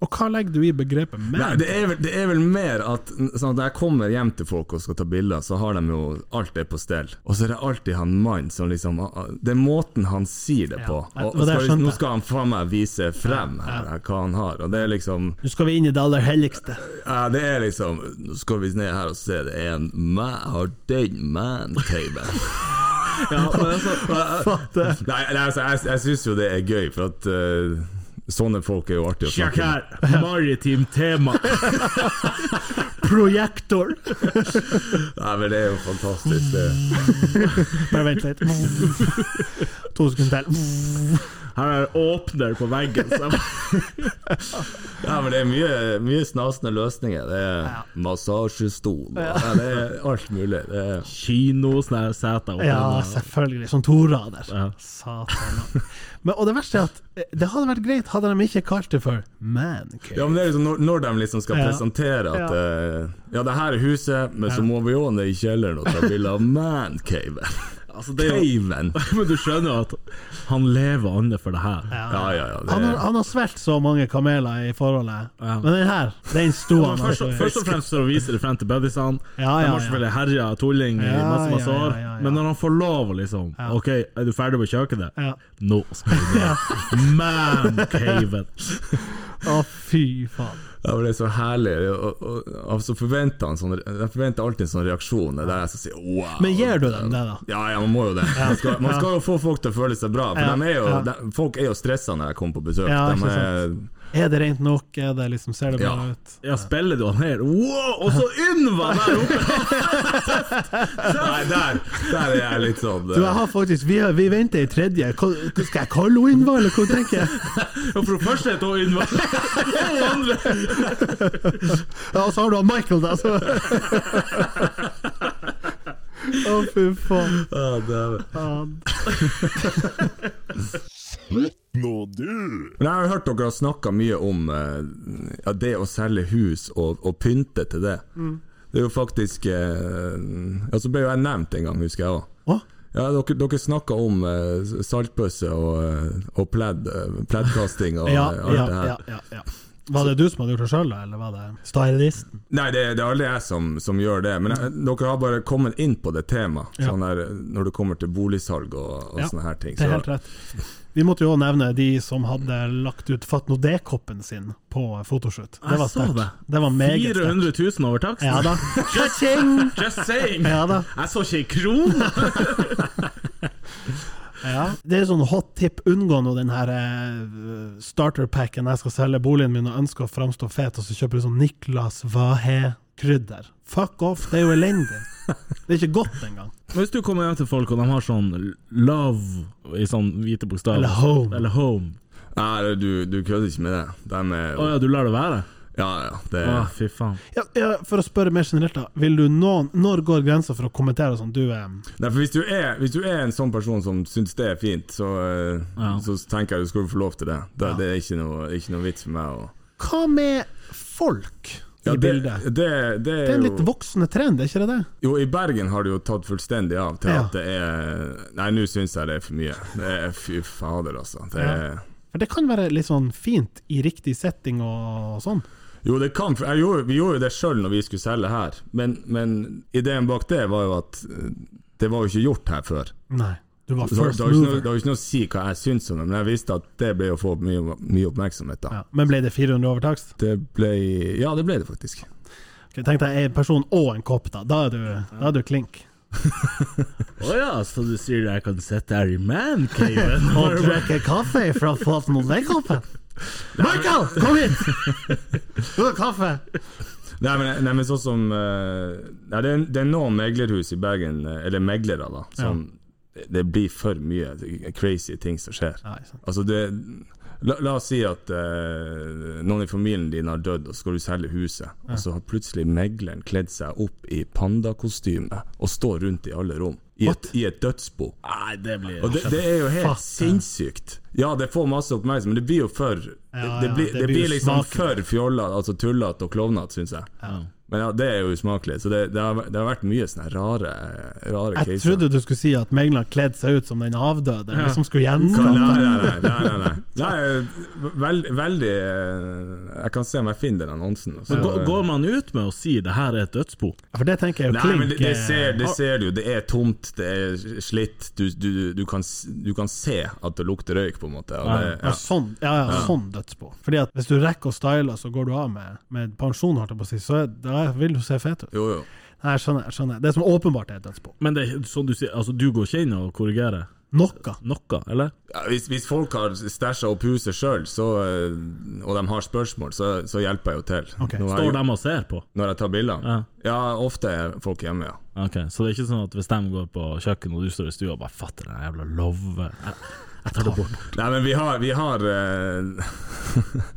[SPEAKER 4] Og hva legger du i begrepet
[SPEAKER 2] Nei,
[SPEAKER 4] man?
[SPEAKER 2] det, er vel, det er vel mer at sånn at når jeg kommer hjem til folk og skal ta bilder, så har de jo alt det på stell. Og så er det alltid han mannen som liksom Det er måten han sier det
[SPEAKER 4] Ja,
[SPEAKER 2] på.
[SPEAKER 4] det-
[SPEAKER 2] Og
[SPEAKER 4] og det
[SPEAKER 2] skal,
[SPEAKER 4] skjønte
[SPEAKER 2] nå
[SPEAKER 4] jeg.
[SPEAKER 2] skal han faen meg vise frem
[SPEAKER 4] Ja,
[SPEAKER 2] her, hva han har. Og det er liksom
[SPEAKER 4] Nå skal vi inn i det aller helligste.
[SPEAKER 2] Ja, det er liksom Nå skal vi ned her og se, det er en man, har den
[SPEAKER 4] (laughs)
[SPEAKER 2] man-caven.
[SPEAKER 3] Ja, men altså,
[SPEAKER 2] (laughs) Nei, nei, altså, jeg, jeg syns jo det er gøy, for at eh, sånne folk er jo artige å
[SPEAKER 3] Sjekk
[SPEAKER 2] snakke med.
[SPEAKER 3] her! (laughs) Maritimt tema.
[SPEAKER 4] Projektor!
[SPEAKER 2] Nei, men det er jo fantastisk. Det.
[SPEAKER 4] Bare vent
[SPEAKER 3] (laughs)
[SPEAKER 4] litt. To sekunder til.
[SPEAKER 3] Her er åpner på veggen. Så jeg,
[SPEAKER 2] Ja, men det er mye, mye snasende løsninger. Det er massasjestol, og- ja, det er alt mulig. Det er,
[SPEAKER 3] kino, sånn her seter oppe
[SPEAKER 4] Ja,
[SPEAKER 3] under.
[SPEAKER 4] selvfølgelig. Som torader.
[SPEAKER 3] Ja.
[SPEAKER 4] Satan. da. Men, og det verste er at eh, det hadde vært greit hadde de ikke kalt det for mancave.
[SPEAKER 2] ja, men det er liksom når, når de liksom skal
[SPEAKER 4] Ja.
[SPEAKER 2] presentere at
[SPEAKER 4] Ja. (laughs)
[SPEAKER 2] eh, Ja, det her er huset, men så må vi òg ned i kjelleren og ta bilde av man-caven.
[SPEAKER 3] altså, det er jo,
[SPEAKER 2] Caven!
[SPEAKER 3] (laughs) men du skjønner jo at han lever andre for det her.
[SPEAKER 2] Ja, ja, ja.
[SPEAKER 4] Han har,
[SPEAKER 2] Det,
[SPEAKER 4] han har svelget så mange kameler i forholdet,
[SPEAKER 3] Ja.
[SPEAKER 4] men den her, den sto han
[SPEAKER 3] først,
[SPEAKER 4] altså i.
[SPEAKER 3] først og fremst for å vise det frem til buddiesene.
[SPEAKER 4] Ja, ja,
[SPEAKER 3] de har selvfølgelig herja tulling i
[SPEAKER 4] Ja,
[SPEAKER 3] masse masse
[SPEAKER 4] ja, ja,
[SPEAKER 3] år,
[SPEAKER 4] ja, ja.
[SPEAKER 3] men når han får lov, å liksom OK, er du ferdig med kjøkkenet?
[SPEAKER 4] Ja.
[SPEAKER 3] Nå skal vi ned. Man caven!
[SPEAKER 4] Å, fy faen.
[SPEAKER 2] det var det så herlig. Og, og, og så forventer han sånn Jeg forventer alltid en sånn reaksjon. Det er der jeg skal si wow.
[SPEAKER 4] Men gir du dem det, da?
[SPEAKER 2] Ja, ja, man må jo det. Man skal, man skal jo få folk til å føle seg bra. For
[SPEAKER 4] Ja,
[SPEAKER 2] dem er jo,
[SPEAKER 4] ja.
[SPEAKER 2] dem- folk er jo stressa når jeg kommer på besøk.
[SPEAKER 4] Ja,
[SPEAKER 2] Dem
[SPEAKER 4] ikke
[SPEAKER 2] er,
[SPEAKER 4] Er det rent nok? Er det liksom, ser det bra
[SPEAKER 2] Ja.
[SPEAKER 4] ut?
[SPEAKER 3] Ja, spiller du han her? Wow! Og så Ynva der oppe!
[SPEAKER 2] nei, der, der er jeg litt sånn
[SPEAKER 4] Du, jeg har faktisk Vi, har- vi venter i tredje. Hva, hva skal jeg kalle henne Ynva, eller hva tenker jeg?
[SPEAKER 3] Og for det første er det Ynva.
[SPEAKER 4] Ja, og så har du han Michael, da, så Å, fy faen.
[SPEAKER 2] Ja, det er-
[SPEAKER 4] Ja,
[SPEAKER 5] Nå du!
[SPEAKER 2] Men jeg har hørt dere har snakka mye om eh, ja, det å selge hus og, og pynte til det.
[SPEAKER 4] Mm.
[SPEAKER 2] Det er jo faktisk eh, Ja, så ble jo jeg nevnt en gang, husker jeg òg.
[SPEAKER 4] Å?
[SPEAKER 2] Ja, dere, dere snakka om eh, saltbøsse og, eh, og pledd, eh, pleddkasting og
[SPEAKER 4] Ja,
[SPEAKER 2] eh, alt
[SPEAKER 4] ja,
[SPEAKER 2] det her.
[SPEAKER 4] ja, ja, ja. Var det du som hadde gjort det sjøl, eller var det stylisten?
[SPEAKER 2] Nei, det, det er aldri jeg som, som gjør det, men jeg, dere har bare kommet inn på det temaet.
[SPEAKER 4] Ja.
[SPEAKER 2] Sånn der, når det kommer til boligsalg og, og
[SPEAKER 4] Ja,
[SPEAKER 2] sånne her ting.
[SPEAKER 4] Det er helt rett. Vi måtte jo også nevne de som hadde lagt ut Fatnodé-koppen sin på fotoshoot. Det
[SPEAKER 3] Jeg
[SPEAKER 4] var
[SPEAKER 3] så
[SPEAKER 4] sterkt.
[SPEAKER 3] det.
[SPEAKER 4] Det var meget sterkt.
[SPEAKER 3] 400 000 over taksten?
[SPEAKER 4] Ja da.
[SPEAKER 2] (laughs)
[SPEAKER 3] Just saying!
[SPEAKER 4] Ja da.
[SPEAKER 3] Jeg så ikke ei krone!
[SPEAKER 4] Ja. Det er sånn hot tip. Unngå nå den her eh, starterpacken jeg skal selge boligen min og ønsker å framstå fet, og så kjøper du sånn Niklas Vahe-krydder. Fuck off, det er jo elendig. Det er ikke godt engang.
[SPEAKER 3] Hvis du kommer hjem til folk og de har sånn love i sånn hvite bokstaver
[SPEAKER 4] Eller home.
[SPEAKER 3] Eller home.
[SPEAKER 2] Nei, du, du kødder ikke med det. Dem er
[SPEAKER 3] Å ja, du lar det være?
[SPEAKER 2] Ja, ja. Det,
[SPEAKER 3] Å,
[SPEAKER 4] Ah.
[SPEAKER 3] fy faen.
[SPEAKER 4] Ja, ja, for å spørre mer generelt, da. Vil du noen, når går grensa for å kommentere sånn du eh,
[SPEAKER 2] Nei, for hvis du, er, hvis du er en sånn person som syns det er fint, så, eh,
[SPEAKER 3] Ja.
[SPEAKER 2] så tenker jeg du skal få lov til det. Det, det er ikke noe, ikke noe vits for meg å
[SPEAKER 4] Hva med folk i
[SPEAKER 2] Ja, det,
[SPEAKER 4] bildet?
[SPEAKER 2] det, det,
[SPEAKER 4] Det er
[SPEAKER 2] er
[SPEAKER 4] en litt
[SPEAKER 2] jo,
[SPEAKER 4] voksende trend, er ikke det det?
[SPEAKER 2] jo, i Bergen har det jo tatt fullstendig av til
[SPEAKER 4] Ja.
[SPEAKER 2] at det er Nei, nå syns jeg det er for mye. Det er, fy fader, altså. Det
[SPEAKER 4] Ja.
[SPEAKER 2] er
[SPEAKER 4] For det kan være litt sånn fint i riktig setting og sånn.
[SPEAKER 2] Jo, det kan, for jeg gjorde, vi gjorde jo det sjøl når vi skulle selge her, men, men ideen bak det var jo at eh, det var jo ikke gjort her før.
[SPEAKER 4] Nei. Du var
[SPEAKER 2] Så
[SPEAKER 4] first
[SPEAKER 2] det var jo ikke, noe-
[SPEAKER 4] mover.
[SPEAKER 2] det var jo ikke noe å si hva jeg syns om det, men jeg visste at det ble å få mye, mye oppmerksomhet. da.
[SPEAKER 4] Ja. Men ble det 400 overtakst?
[SPEAKER 2] Det ble Ja, det ble det faktisk.
[SPEAKER 4] Ok, Tenk deg en person og en kopp, da. Da er du, da er du klink.
[SPEAKER 3] Å ja, så du sier jeg kan sitte her i (laughs) mancaven?
[SPEAKER 4] Og drikke kaffe fra Fatnodé-koppen. Michael, kom hit! Du har kaffe.
[SPEAKER 2] Nei, men, nei, men sånn som eh, Nei, det er, det er noen meglerhus i Bergen, eh, eller meglere, da, som Det blir for mye crazy ting som skjer.
[SPEAKER 4] Ja, ikke sant.
[SPEAKER 2] Altså det La, la oss si at eh, noen i familien din har dødd, og så skal du selge huset. Og så har plutselig megleren kledd seg opp i pandakostyme og står rundt i alle rom. I et, i et dødsbo.
[SPEAKER 3] Nei, det blir
[SPEAKER 2] Og det, det er jo helt
[SPEAKER 4] Fatt, ja.
[SPEAKER 2] sinnssykt. Ja, det får masse oppmerksomhet, men det blir jo for Det,
[SPEAKER 4] ja,
[SPEAKER 2] det, blir,
[SPEAKER 4] det
[SPEAKER 2] det,
[SPEAKER 4] blir
[SPEAKER 2] blir liksom
[SPEAKER 4] usmakelig.
[SPEAKER 2] for fjollete, altså tullete og klovnete, syns jeg. Men ja, det er jo usmakelig. Så det, det, har, det har vært mye sånne rare, rare
[SPEAKER 4] Jeg trodde du skulle si at megleren kledde seg ut som den avdøde, eller som skulle
[SPEAKER 2] Nei,
[SPEAKER 3] Sånn.
[SPEAKER 4] gjenskape.
[SPEAKER 2] nei, nei. nei, nei, nei. nei veld, veldig eh, Jeg kan se om jeg finner den annonsen. altså. Eh, så-
[SPEAKER 3] Men gå- Går man ut med å si det her er et dødsbo?
[SPEAKER 4] Ja, For det tenker jeg jo
[SPEAKER 2] Nei, men
[SPEAKER 4] klink. eh,
[SPEAKER 2] det, det,
[SPEAKER 3] eh?
[SPEAKER 2] ser, det ser du. Det er tomt, det er slitt. Du, du, du, kan, s- du kan se at det lukter røyk, på en måte. Og det,
[SPEAKER 4] Ja, sånn, ja, ja, sånn dødsbo. Fordi at hvis du rekker å style, så går du av med, med pensjon, holdt jeg på å si, så er- da vil du se fet ut.
[SPEAKER 2] Jo, jo.
[SPEAKER 4] Nei, jeg skjønner, jeg skjønner. Det som åpenbart er et dødsbo.
[SPEAKER 3] Men det er sånn du sier, altså du går ikke inn og korrigerer
[SPEAKER 4] Noe.
[SPEAKER 3] noe, eller?
[SPEAKER 2] Ja, hvis, hvis folk har stæsja opp huset sjøl, eh, og de har spørsmål, så, så hjelper jeg jo til.
[SPEAKER 4] Ok,
[SPEAKER 2] når,
[SPEAKER 3] Står
[SPEAKER 2] jeg,
[SPEAKER 3] de og ser på?
[SPEAKER 2] når jeg tar bilder.
[SPEAKER 3] Ja.
[SPEAKER 2] Ja, ofte er folk hjemme, ja.
[SPEAKER 3] Ok, Så det er ikke sånn at hvis de går på kjøkkenet og du står i stua og bare fatter den jævla love Jeg, jeg tar det bort.
[SPEAKER 2] Nei, men vi har, vi har eh, (laughs)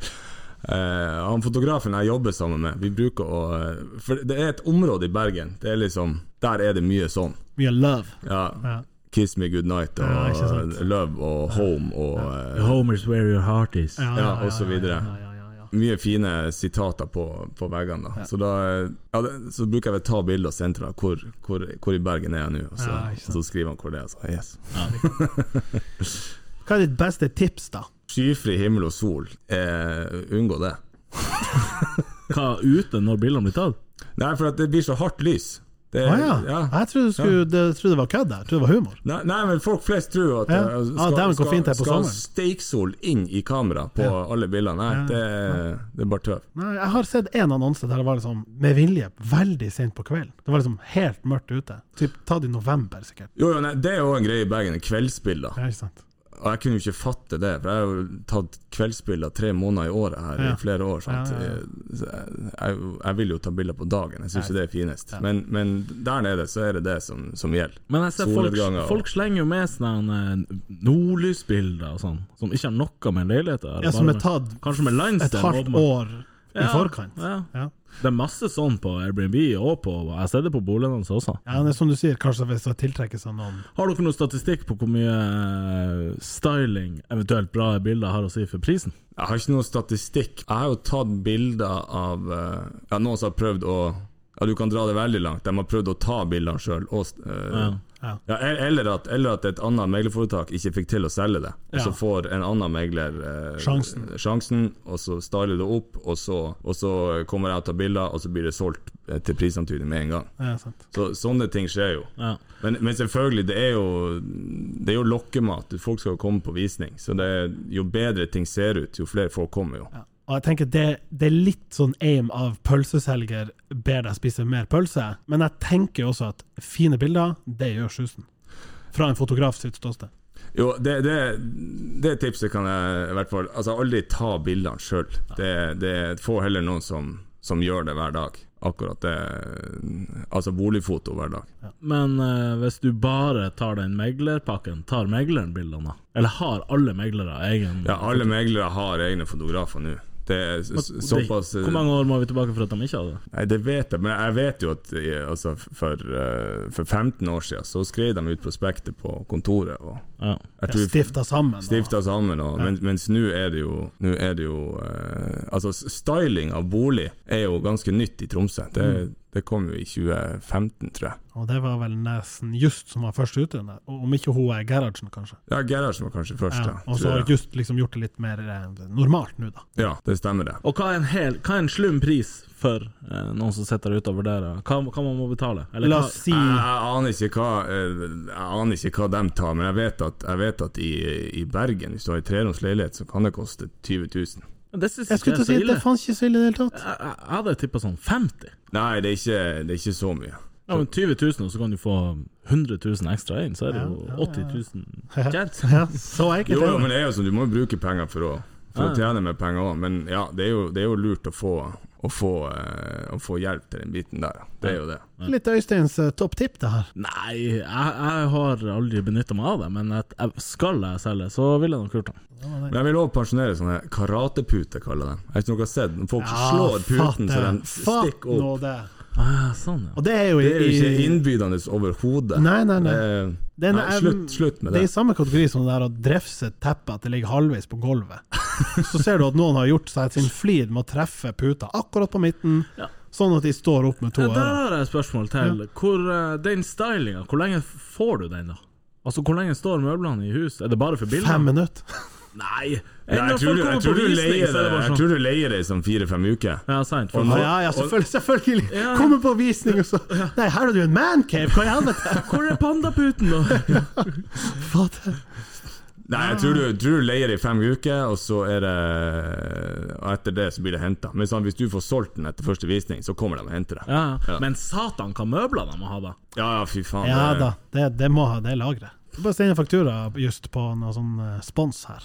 [SPEAKER 2] eh, Han fotografen jeg jobber sammen med, vi bruker å eh, For det er et område i Bergen, det er liksom Der er det mye sånn.
[SPEAKER 4] Mye love.
[SPEAKER 2] Ja,
[SPEAKER 4] Ja.
[SPEAKER 2] Kiss me good night og
[SPEAKER 4] Ja, ikke sant.
[SPEAKER 2] Love og Home og eh,
[SPEAKER 3] Homer's where your heart is.
[SPEAKER 2] Ja, og så videre.
[SPEAKER 4] Ja, ja, ja, ja.
[SPEAKER 2] mye fine sitater på, på veggene. Da. Så da eh, ja, det, Så bruker jeg vel ta bilde og sentre da, hvor, hvor, hvor i Bergen er jeg nå, og så,
[SPEAKER 4] Ja, ikke sant.
[SPEAKER 2] og så skriver han hvor det er. og Så, yes.
[SPEAKER 4] Hva er ditt beste tips, da?
[SPEAKER 2] Skyfri himmel og sol, eh, unngå det.
[SPEAKER 3] Hva, ute når bilene blir tatt?
[SPEAKER 2] Nei, for at det blir så hardt lys. Det,
[SPEAKER 4] Å ja. Jeg trodde, du skulle, det, trodde det var kødd. Jeg trodde det var humor.
[SPEAKER 2] Nei, nei, men folk flest tror at
[SPEAKER 4] Ja.
[SPEAKER 2] eh,
[SPEAKER 4] Ah, dæven, hvor fint det er på
[SPEAKER 2] skal
[SPEAKER 4] sommeren.
[SPEAKER 2] steiksol inn i kamera på alle bilene. Nei, det, det er bare tøv.
[SPEAKER 4] Nei, jeg har sett én annonse der det var liksom med vilje veldig sent på kvelden. Det var liksom helt mørkt ute. Typ tatt i november, sikkert.
[SPEAKER 2] Jo, jo, nei, det er jo en greie i Bergen, kveldsbilder.
[SPEAKER 4] Ja, ikke sant?
[SPEAKER 2] Og jeg kunne jo ikke fatte det, for jeg har jo tatt kveldsbilder tre måneder i året her
[SPEAKER 4] Ja.
[SPEAKER 2] i flere år. Sant?
[SPEAKER 4] Ja, ja, ja.
[SPEAKER 2] Så Jeg, jeg, jeg vil jo ta bilder på dagen, jeg syns jo det er finest. Men, men der nede så er det det som, som gjelder.
[SPEAKER 3] Men jeg ser folk,
[SPEAKER 2] Solnedganger og-
[SPEAKER 3] folk slenger jo med sånne eh, nordlysbilder og sånn, som ikke har noe med en leilighet å gjøre.
[SPEAKER 4] Ja, som
[SPEAKER 3] bare
[SPEAKER 4] er
[SPEAKER 3] med-
[SPEAKER 4] tatt
[SPEAKER 3] Kanskje med
[SPEAKER 4] et
[SPEAKER 3] landsdelen.
[SPEAKER 4] halvt
[SPEAKER 3] åpenbart.
[SPEAKER 4] år i
[SPEAKER 3] Ja,
[SPEAKER 4] forkant.
[SPEAKER 3] Ja.
[SPEAKER 4] Ja.
[SPEAKER 3] Det er masse sånn på Airbnb og på Jeg har sett det på boligene hans også.
[SPEAKER 4] Ja, det er som du sier, kanskje hvis det tiltrekkes av noen
[SPEAKER 3] Har dere noen statistikk på hvor mye eh, styling, eventuelt bra bilder, har å si for prisen?
[SPEAKER 2] Jeg har ikke noen statistikk. Jeg har jo tatt bilder av eh, ja, Noen som har prøvd å Ja, du kan dra det veldig langt. De har prøvd å ta bildene sjøl.
[SPEAKER 3] Ja.
[SPEAKER 4] Ja.
[SPEAKER 2] eh, Ja, el- eller, at- eller at et annet meglerforetak ikke fikk til å selge det. Og
[SPEAKER 4] Ja.
[SPEAKER 2] Så får en annen megler eh,
[SPEAKER 4] Sjansen.
[SPEAKER 2] sjansen, og så styler det opp, og så, og så kommer jeg og tar bilder, og så blir det solgt eh, til prisantydning med en gang.
[SPEAKER 4] ja, sant.
[SPEAKER 2] Så Sånne ting skjer jo.
[SPEAKER 3] Ja.
[SPEAKER 2] Men, men selvfølgelig, det er jo Det er jo lokkemat. Folk skal jo komme på visning. Så det, er- jo bedre ting ser ut, jo flere folk kommer jo.
[SPEAKER 4] Ja. Og jeg tenker det, det er litt sånn aim av pølseselger ber deg spise mer pølse, men jeg tenker jo også at fine bilder, det gjør susen. Fra en fotograf sitt ståsted.
[SPEAKER 2] Jo, det, det, det tipset kan jeg i hvert fall Altså, aldri ta bildene sjøl. Det, det får heller noen som, som gjør det hver dag. Akkurat det Altså boligfoto hver dag.
[SPEAKER 3] Men eh, hvis du bare tar den meglerpakken, tar megleren bildene da? Eller har alle meglere egen
[SPEAKER 2] Ja, alle meglere har egne fotografer nå. Det er s- s- såpass eh,
[SPEAKER 3] Hvor mange år må vi tilbake for at de ikke hadde det?
[SPEAKER 2] Nei, det vet jeg, men jeg vet jo at eh, altså, for, eh, for 15 år siden så skrev de ut prospektet på kontoret. Og
[SPEAKER 3] Ja.
[SPEAKER 2] jeg tror
[SPEAKER 4] Stifta sammen. Og,
[SPEAKER 2] Stifta sammen, og, men, mens nå er det jo, nå er det jo eh, Altså, s- styling av bolig er jo ganske nytt i Tromsø. Det,
[SPEAKER 4] Mm.
[SPEAKER 2] det kom jo i 2015, tror jeg.
[SPEAKER 4] og det var vel nesten Just som var først ute. nei. Og Om ikke hun er Gerhardsen, kanskje.
[SPEAKER 2] Ja, Gerhardsen var kanskje først,
[SPEAKER 4] Ja,
[SPEAKER 2] ja.
[SPEAKER 4] og så
[SPEAKER 2] tror
[SPEAKER 4] har
[SPEAKER 2] jeg.
[SPEAKER 4] Just liksom gjort det litt mer eh, normalt nå, da.
[SPEAKER 2] Ja, det stemmer, det.
[SPEAKER 3] Og hva er en, hel, hva er en slum pris for eh, noen som sitter der ute og vurderer? Hva, hva man må betale? Eller
[SPEAKER 4] La
[SPEAKER 3] hva-
[SPEAKER 4] oss si
[SPEAKER 2] Jeg, jeg, aner ikke hva, eh, jeg aner ikke hva de tar, men jeg vet at, jeg vet at i, i Bergen, hvis du har en treroms leilighet, så kan det koste 20 000.
[SPEAKER 3] Men Det syns ikke
[SPEAKER 4] Jeg skulle
[SPEAKER 3] jeg er
[SPEAKER 4] til å
[SPEAKER 3] så
[SPEAKER 4] si at
[SPEAKER 3] ille.
[SPEAKER 4] det faen ikke så ille i det hele tatt.
[SPEAKER 3] Jeg, jeg jeg hadde tippa sånn 50.
[SPEAKER 2] Nei, det er ikke, det er ikke så mye.
[SPEAKER 3] Ja, men 20 000, og så kan du få 100 000 ekstra inn, så er det
[SPEAKER 4] Ja, ja,
[SPEAKER 3] jo
[SPEAKER 4] ja.
[SPEAKER 3] 80 000
[SPEAKER 4] Ja.
[SPEAKER 3] tjent.
[SPEAKER 4] (laughs) Ja, så enkelt
[SPEAKER 2] Jo,
[SPEAKER 4] er
[SPEAKER 2] jo,
[SPEAKER 4] det.
[SPEAKER 2] men det er jo sånn, du må jo bruke penger for å, for
[SPEAKER 3] Ja.
[SPEAKER 2] å tjene mer penger òg. Men ja, det er, jo, det er jo lurt å få, å, få, eh, å få hjelp til den biten der. ja. Det er jo det.
[SPEAKER 4] Litt Øysteins eh, topp tipp, det her.
[SPEAKER 3] Nei, jeg, jeg har aldri benytta meg av det, men at jeg, skal jeg selge, så ville jeg nok gjort det.
[SPEAKER 2] Men jeg vil òg pensjonere sånne karateputer, kaller jeg dem. Jeg vet ikke om dere har sett når folk slår puten så den
[SPEAKER 4] Ah, Fatt
[SPEAKER 2] stikker
[SPEAKER 4] nå
[SPEAKER 2] opp.
[SPEAKER 4] det.
[SPEAKER 3] Ah, sånn, ja.
[SPEAKER 4] Og det er jo i
[SPEAKER 2] Det er jo ikke innbydende overhodet.
[SPEAKER 4] Nei, nei, nei.
[SPEAKER 2] Det-
[SPEAKER 4] Den
[SPEAKER 2] Nei,
[SPEAKER 4] er-
[SPEAKER 2] slutt, slutt med
[SPEAKER 4] Det
[SPEAKER 2] det.
[SPEAKER 4] er i samme kategori som det der å drefse et teppe at det ligger halvveis på
[SPEAKER 2] (laughs)
[SPEAKER 4] gulvet. Så ser du at noen har gjort seg sin flid med å treffe puta akkurat på midten,
[SPEAKER 3] Ja.
[SPEAKER 4] sånn at de står opp med to
[SPEAKER 3] Ja, Der
[SPEAKER 4] ører.
[SPEAKER 3] har jeg et spørsmål til. Hvor, eh, den stylinga, hvor lenge får du den, da? Altså, Hvor lenge står møblene i hus? Er det bare for
[SPEAKER 4] Fem
[SPEAKER 3] bildene?
[SPEAKER 4] minutter.
[SPEAKER 3] Nei!
[SPEAKER 2] Nei, jeg tror, du- jeg, tror du leier det, jeg
[SPEAKER 3] det.
[SPEAKER 2] tror du leier det i sånn fire-fem uker.
[SPEAKER 3] Ja, sant. For
[SPEAKER 2] Og
[SPEAKER 4] Ja,
[SPEAKER 2] nå-
[SPEAKER 4] ja, ja selvfølgelig. selvfølgelig.
[SPEAKER 3] Ja.
[SPEAKER 4] Kommer på visning, og så Nei, her har du en mancave! Hva i helvete?
[SPEAKER 3] hvor er pandaputen, da?
[SPEAKER 4] (laughs) Fader.
[SPEAKER 2] Nei, jeg tror du, tror du leier i fem uker, og så er det Og etter det så blir det henta. Men sånn, hvis du får solgt den etter første visning, så kommer de og henter deg.
[SPEAKER 3] Ja. Men satan, hva møbler de må ha, da.
[SPEAKER 2] Ja ja, fy faen.
[SPEAKER 4] Ja
[SPEAKER 2] det-
[SPEAKER 4] da, det, det må ha det lagret. Bare send en faktura just på noe sånn eh, spons her.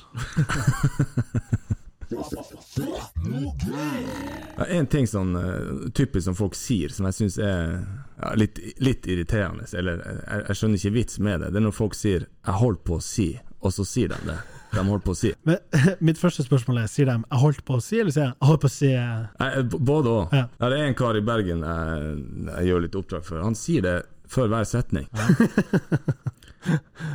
[SPEAKER 2] Ja, en ting sånn eh, typisk som folk sier, som jeg syns er ja, litt, litt irriterende, eller jeg, jeg skjønner ikke vits med det, det er når folk sier 'jeg holdt på å si', og så sier de det. De holdt på å si.
[SPEAKER 4] Men (laughs) mitt første spørsmål er, sier de 'jeg holdt på å si', eller sier jeg 'jeg holdt på å si'? eh,
[SPEAKER 2] Nei, b- Både òg.
[SPEAKER 4] Ja.
[SPEAKER 2] Ja. Det er en kar i Bergen jeg, jeg gjør litt oppdrag for. Han sier det før hver setning.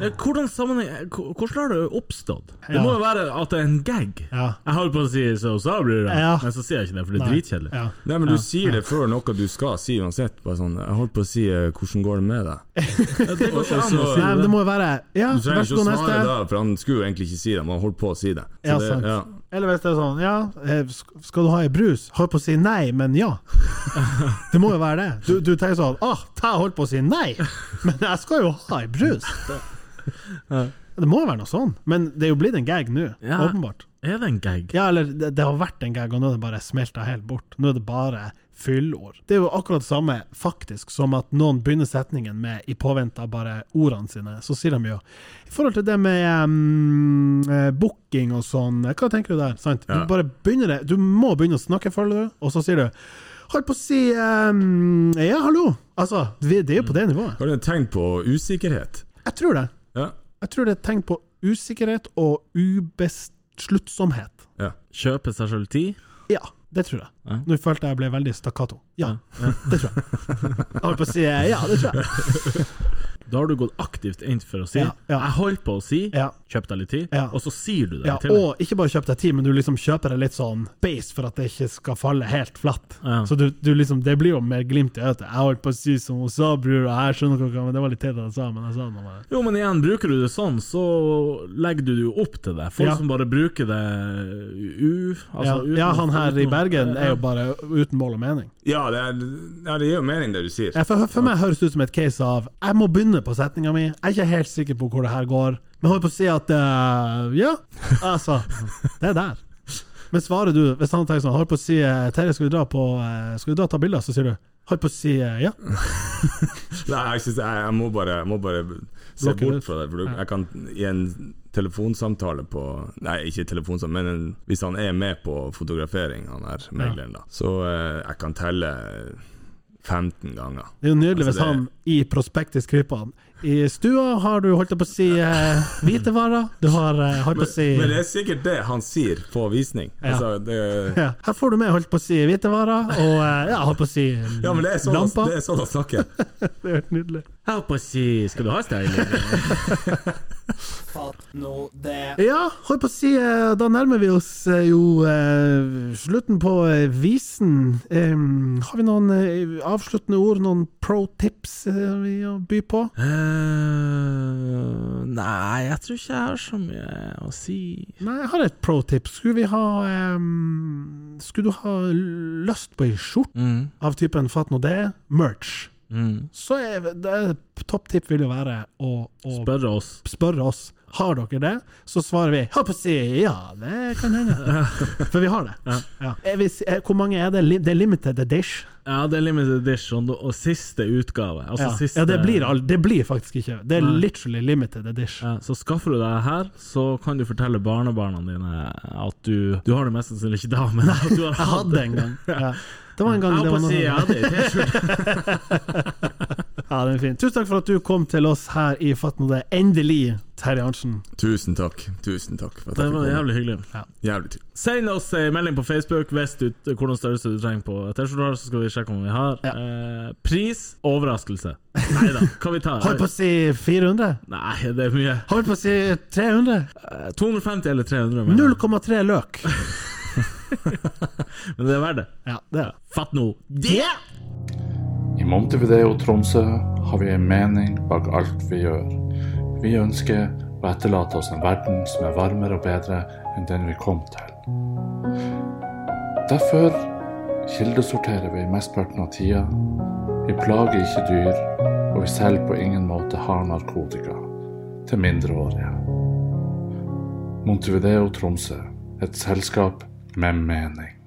[SPEAKER 3] Eh, Hvordan sammenheng eh, hvor- Hvordan har det oppstått? Det
[SPEAKER 4] Ja.
[SPEAKER 3] må jo være at det er en gag.
[SPEAKER 4] Ja.
[SPEAKER 3] Jeg holder på å si 'så sa blir det',
[SPEAKER 4] Ja.
[SPEAKER 3] men så sier jeg ikke det, for det er
[SPEAKER 4] Nei.
[SPEAKER 3] dritkjedelig.
[SPEAKER 4] Ja.
[SPEAKER 2] Nei, men du sier det før noe du skal si uansett. Bare sånn, jeg holdt på å si eh, 'hvordan går det med deg'?
[SPEAKER 3] Det går ikke an å si
[SPEAKER 4] Nei, men det
[SPEAKER 3] det.
[SPEAKER 4] må jo være Ja,
[SPEAKER 2] Du
[SPEAKER 4] vær
[SPEAKER 2] trenger
[SPEAKER 4] så
[SPEAKER 2] ikke å
[SPEAKER 4] god,
[SPEAKER 2] svare
[SPEAKER 4] neste.
[SPEAKER 2] da, for han skulle jo egentlig ikke si det, men han holdt på å si det. Så
[SPEAKER 4] Ja,
[SPEAKER 2] det-
[SPEAKER 4] sant. Eller hvis det er sånn Ja, eh, sk- skal du ha ei brus? Holdt på å si nei, men ja. Det må jo være det. Du, du tenker sånn Åh, jeg holdt på å si nei, men jeg skal jo ha ei brus. Det må jo være noe sånn. Men det er jo blitt en gag nå,
[SPEAKER 3] Ja.
[SPEAKER 4] åpenbart.
[SPEAKER 3] Er det en gag?
[SPEAKER 4] Ja, eller det, det har vært en gag, og nå er det bare smelta helt bort. Nå er det bare fyllord. Det er jo akkurat det samme faktisk som at noen begynner setningen med i påvente av bare ordene sine. Så sier de jo I forhold til det med em, eh, booking og sånn, hva tenker du der? Sant?
[SPEAKER 2] Ja.
[SPEAKER 4] Du bare begynner det. Du må begynne å snakke, føler du, og så sier du Holdt på å si em, Ja, hallo! Altså, vi, det er jo på det nivået.
[SPEAKER 2] Har du et tegn på usikkerhet?
[SPEAKER 4] Jeg tror det.
[SPEAKER 2] Ja.
[SPEAKER 4] Jeg tror det er et tegn på usikkerhet og ubesluttsomhet.
[SPEAKER 2] ja.
[SPEAKER 3] Kjøpe seg sjøl tid?
[SPEAKER 4] Ja, det tror jeg.
[SPEAKER 3] Ja.
[SPEAKER 4] Nå følte jeg jeg ble veldig stakkato. Ja, det tror jeg. Jeg holdt på å si ja, det tror
[SPEAKER 3] (laughs)
[SPEAKER 4] jeg.
[SPEAKER 3] Da har du gått aktivt inn for å si
[SPEAKER 4] Ja, ja.
[SPEAKER 3] 'jeg holdt på å si',
[SPEAKER 4] Ja.
[SPEAKER 3] kjøp deg litt tid,
[SPEAKER 4] Ja.
[SPEAKER 3] og så sier du det
[SPEAKER 4] Ja,
[SPEAKER 3] i tillegg.
[SPEAKER 4] og ikke bare kjøp deg tid, men du liksom kjøper det litt sånn base for at det ikke skal falle helt flatt.
[SPEAKER 3] Ja.
[SPEAKER 4] Så du, du liksom, det blir jo mer glimt i øyet. Jeg holdt på å si som hun sa, bror, og jeg skjønner hva men det var litt teit at jeg sa, men jeg sa det nå bare.
[SPEAKER 3] Jo, men igjen, bruker du det sånn, så legger du det jo opp til det. Folk
[SPEAKER 4] Ja.
[SPEAKER 3] som bare bruker det u...
[SPEAKER 4] Ja,
[SPEAKER 3] Altså, uten-
[SPEAKER 4] ja, han her i
[SPEAKER 3] uten-
[SPEAKER 4] Bergen er jo bare uten mål og mening.
[SPEAKER 2] Ja, det, er, ja, det gir jo mening det du sier.
[SPEAKER 4] Ja, For, for meg høres det ut som et case av Jeg må begynne på setninga mi, jeg er ikke helt sikker på hvor det her går, men holder på å si at eh, Ja, altså. Det er der. Men svarer du Hvis han tenker sånn Holder på å si eh, Terje, skal vi dra på eh, Skal vi dra og ta bilder? Så sier du Holder på å si eh, ja.
[SPEAKER 2] Nei, jeg, synes, jeg, jeg må bare, jeg må bare se
[SPEAKER 4] Blokke
[SPEAKER 2] bort
[SPEAKER 4] ut.
[SPEAKER 2] fra det. For du, jeg kan i en telefonsamtale på Nei, ikke telefonsamtale, men en, hvis han er med på fotografering, han her megleren, da, så eh, jeg kan telle 15 ganger.
[SPEAKER 4] Det er jo nydelig
[SPEAKER 2] Altså,
[SPEAKER 4] hvis
[SPEAKER 2] det-
[SPEAKER 4] han i prospektet skriver han I stua har du holdt på å si eh, hvitevarer. Du har eh, holdt på å si
[SPEAKER 2] Men det er sikkert det han sier på visning.
[SPEAKER 4] Ja.
[SPEAKER 2] Altså, det,
[SPEAKER 4] ja, Her får du med holdt på å si hvitevarer, og eh, ja, holdt på å si
[SPEAKER 2] ja, men det er sånn, han-
[SPEAKER 4] lamper.
[SPEAKER 2] det er sånn han snakker.
[SPEAKER 4] Det er helt nydelig.
[SPEAKER 3] Jeg holdt på å si 'skal du ha (laughs) styling'?
[SPEAKER 5] Fatt nå det.
[SPEAKER 4] Ja, holdt på å si eh, Da nærmer vi oss eh, jo eh, slutten på eh, visen. Em, har vi noen eh, avsluttende ord, noen pro tips eh, vi å by på?
[SPEAKER 3] Eh, nei, jeg tror ikke jeg har så mye å si.
[SPEAKER 4] Nei, jeg har et pro tips. Skulle vi ha em, Skulle du ha lyst på ei skjorte
[SPEAKER 3] Mm,
[SPEAKER 4] av typen Fat nå det, merch,
[SPEAKER 3] mm.
[SPEAKER 4] så er det topp tipp vil jo være å, å
[SPEAKER 3] Spør oss.
[SPEAKER 4] spørre oss har dere det, så svarer vi holdt på å si ja, det kan hende. For vi har det. Ja. Eh, Hvis, eh, hvor mange er det? Li- Det er limited edition.
[SPEAKER 3] Ja, det er limited edition og- og siste utgave. Altså
[SPEAKER 4] Ja,
[SPEAKER 3] siste
[SPEAKER 4] ja det, blir, all- det blir faktisk ikke Det er literally limited edition.
[SPEAKER 3] Ja, så skaffer du deg her, så kan du fortelle barnebarna dine at du Du har det mest sannsynlig ikke da, men at (laughs) du har
[SPEAKER 4] Jeg
[SPEAKER 3] hatt
[SPEAKER 4] hadde
[SPEAKER 3] det.
[SPEAKER 4] en gang. Ja. Det var en gang
[SPEAKER 3] Jeg
[SPEAKER 4] det
[SPEAKER 3] holdt
[SPEAKER 4] var
[SPEAKER 3] på å
[SPEAKER 4] noe sånn
[SPEAKER 3] si jeg hadde ei T-skjorte.
[SPEAKER 4] Ja, den er fin. Tusen takk for at du kom til oss her i Fatt nå det. Endelig, Terje Arntzen.
[SPEAKER 2] Tusen takk. Tusen takk for at
[SPEAKER 3] (laughs) Det
[SPEAKER 2] jeg fikk
[SPEAKER 3] var
[SPEAKER 2] komme.
[SPEAKER 3] jævlig hyggelig.
[SPEAKER 2] Jævlig tur.
[SPEAKER 3] Send oss ei melding på Facebook hvis du hvordan størrelse du trenger på T-skjorta, så skal vi sjekke om vi har. Eh, pris overraskelse. Nei da, hva vi tar?
[SPEAKER 4] Holdt på å si 400?
[SPEAKER 3] Nei, det er mye.
[SPEAKER 4] Holdt på å si 300?
[SPEAKER 3] Eh, 250 eller 300, men,
[SPEAKER 4] 0,3 løk.
[SPEAKER 3] men det er verdt det.
[SPEAKER 4] Ja, det er det.
[SPEAKER 3] Fatt nå.
[SPEAKER 4] Yeah!
[SPEAKER 1] I Montevideo Tromsø har vi en mening bak alt vi gjør. Vi ønsker å etterlate oss en verden som er varmere og bedre enn den vi kom til. Derfor kildesorterer vi mesteparten av tida. Vi plager ikke dyr, og vi selv på ingen måte har narkotika til mindreårige. Montevideo Tromsø, et selskap med mening.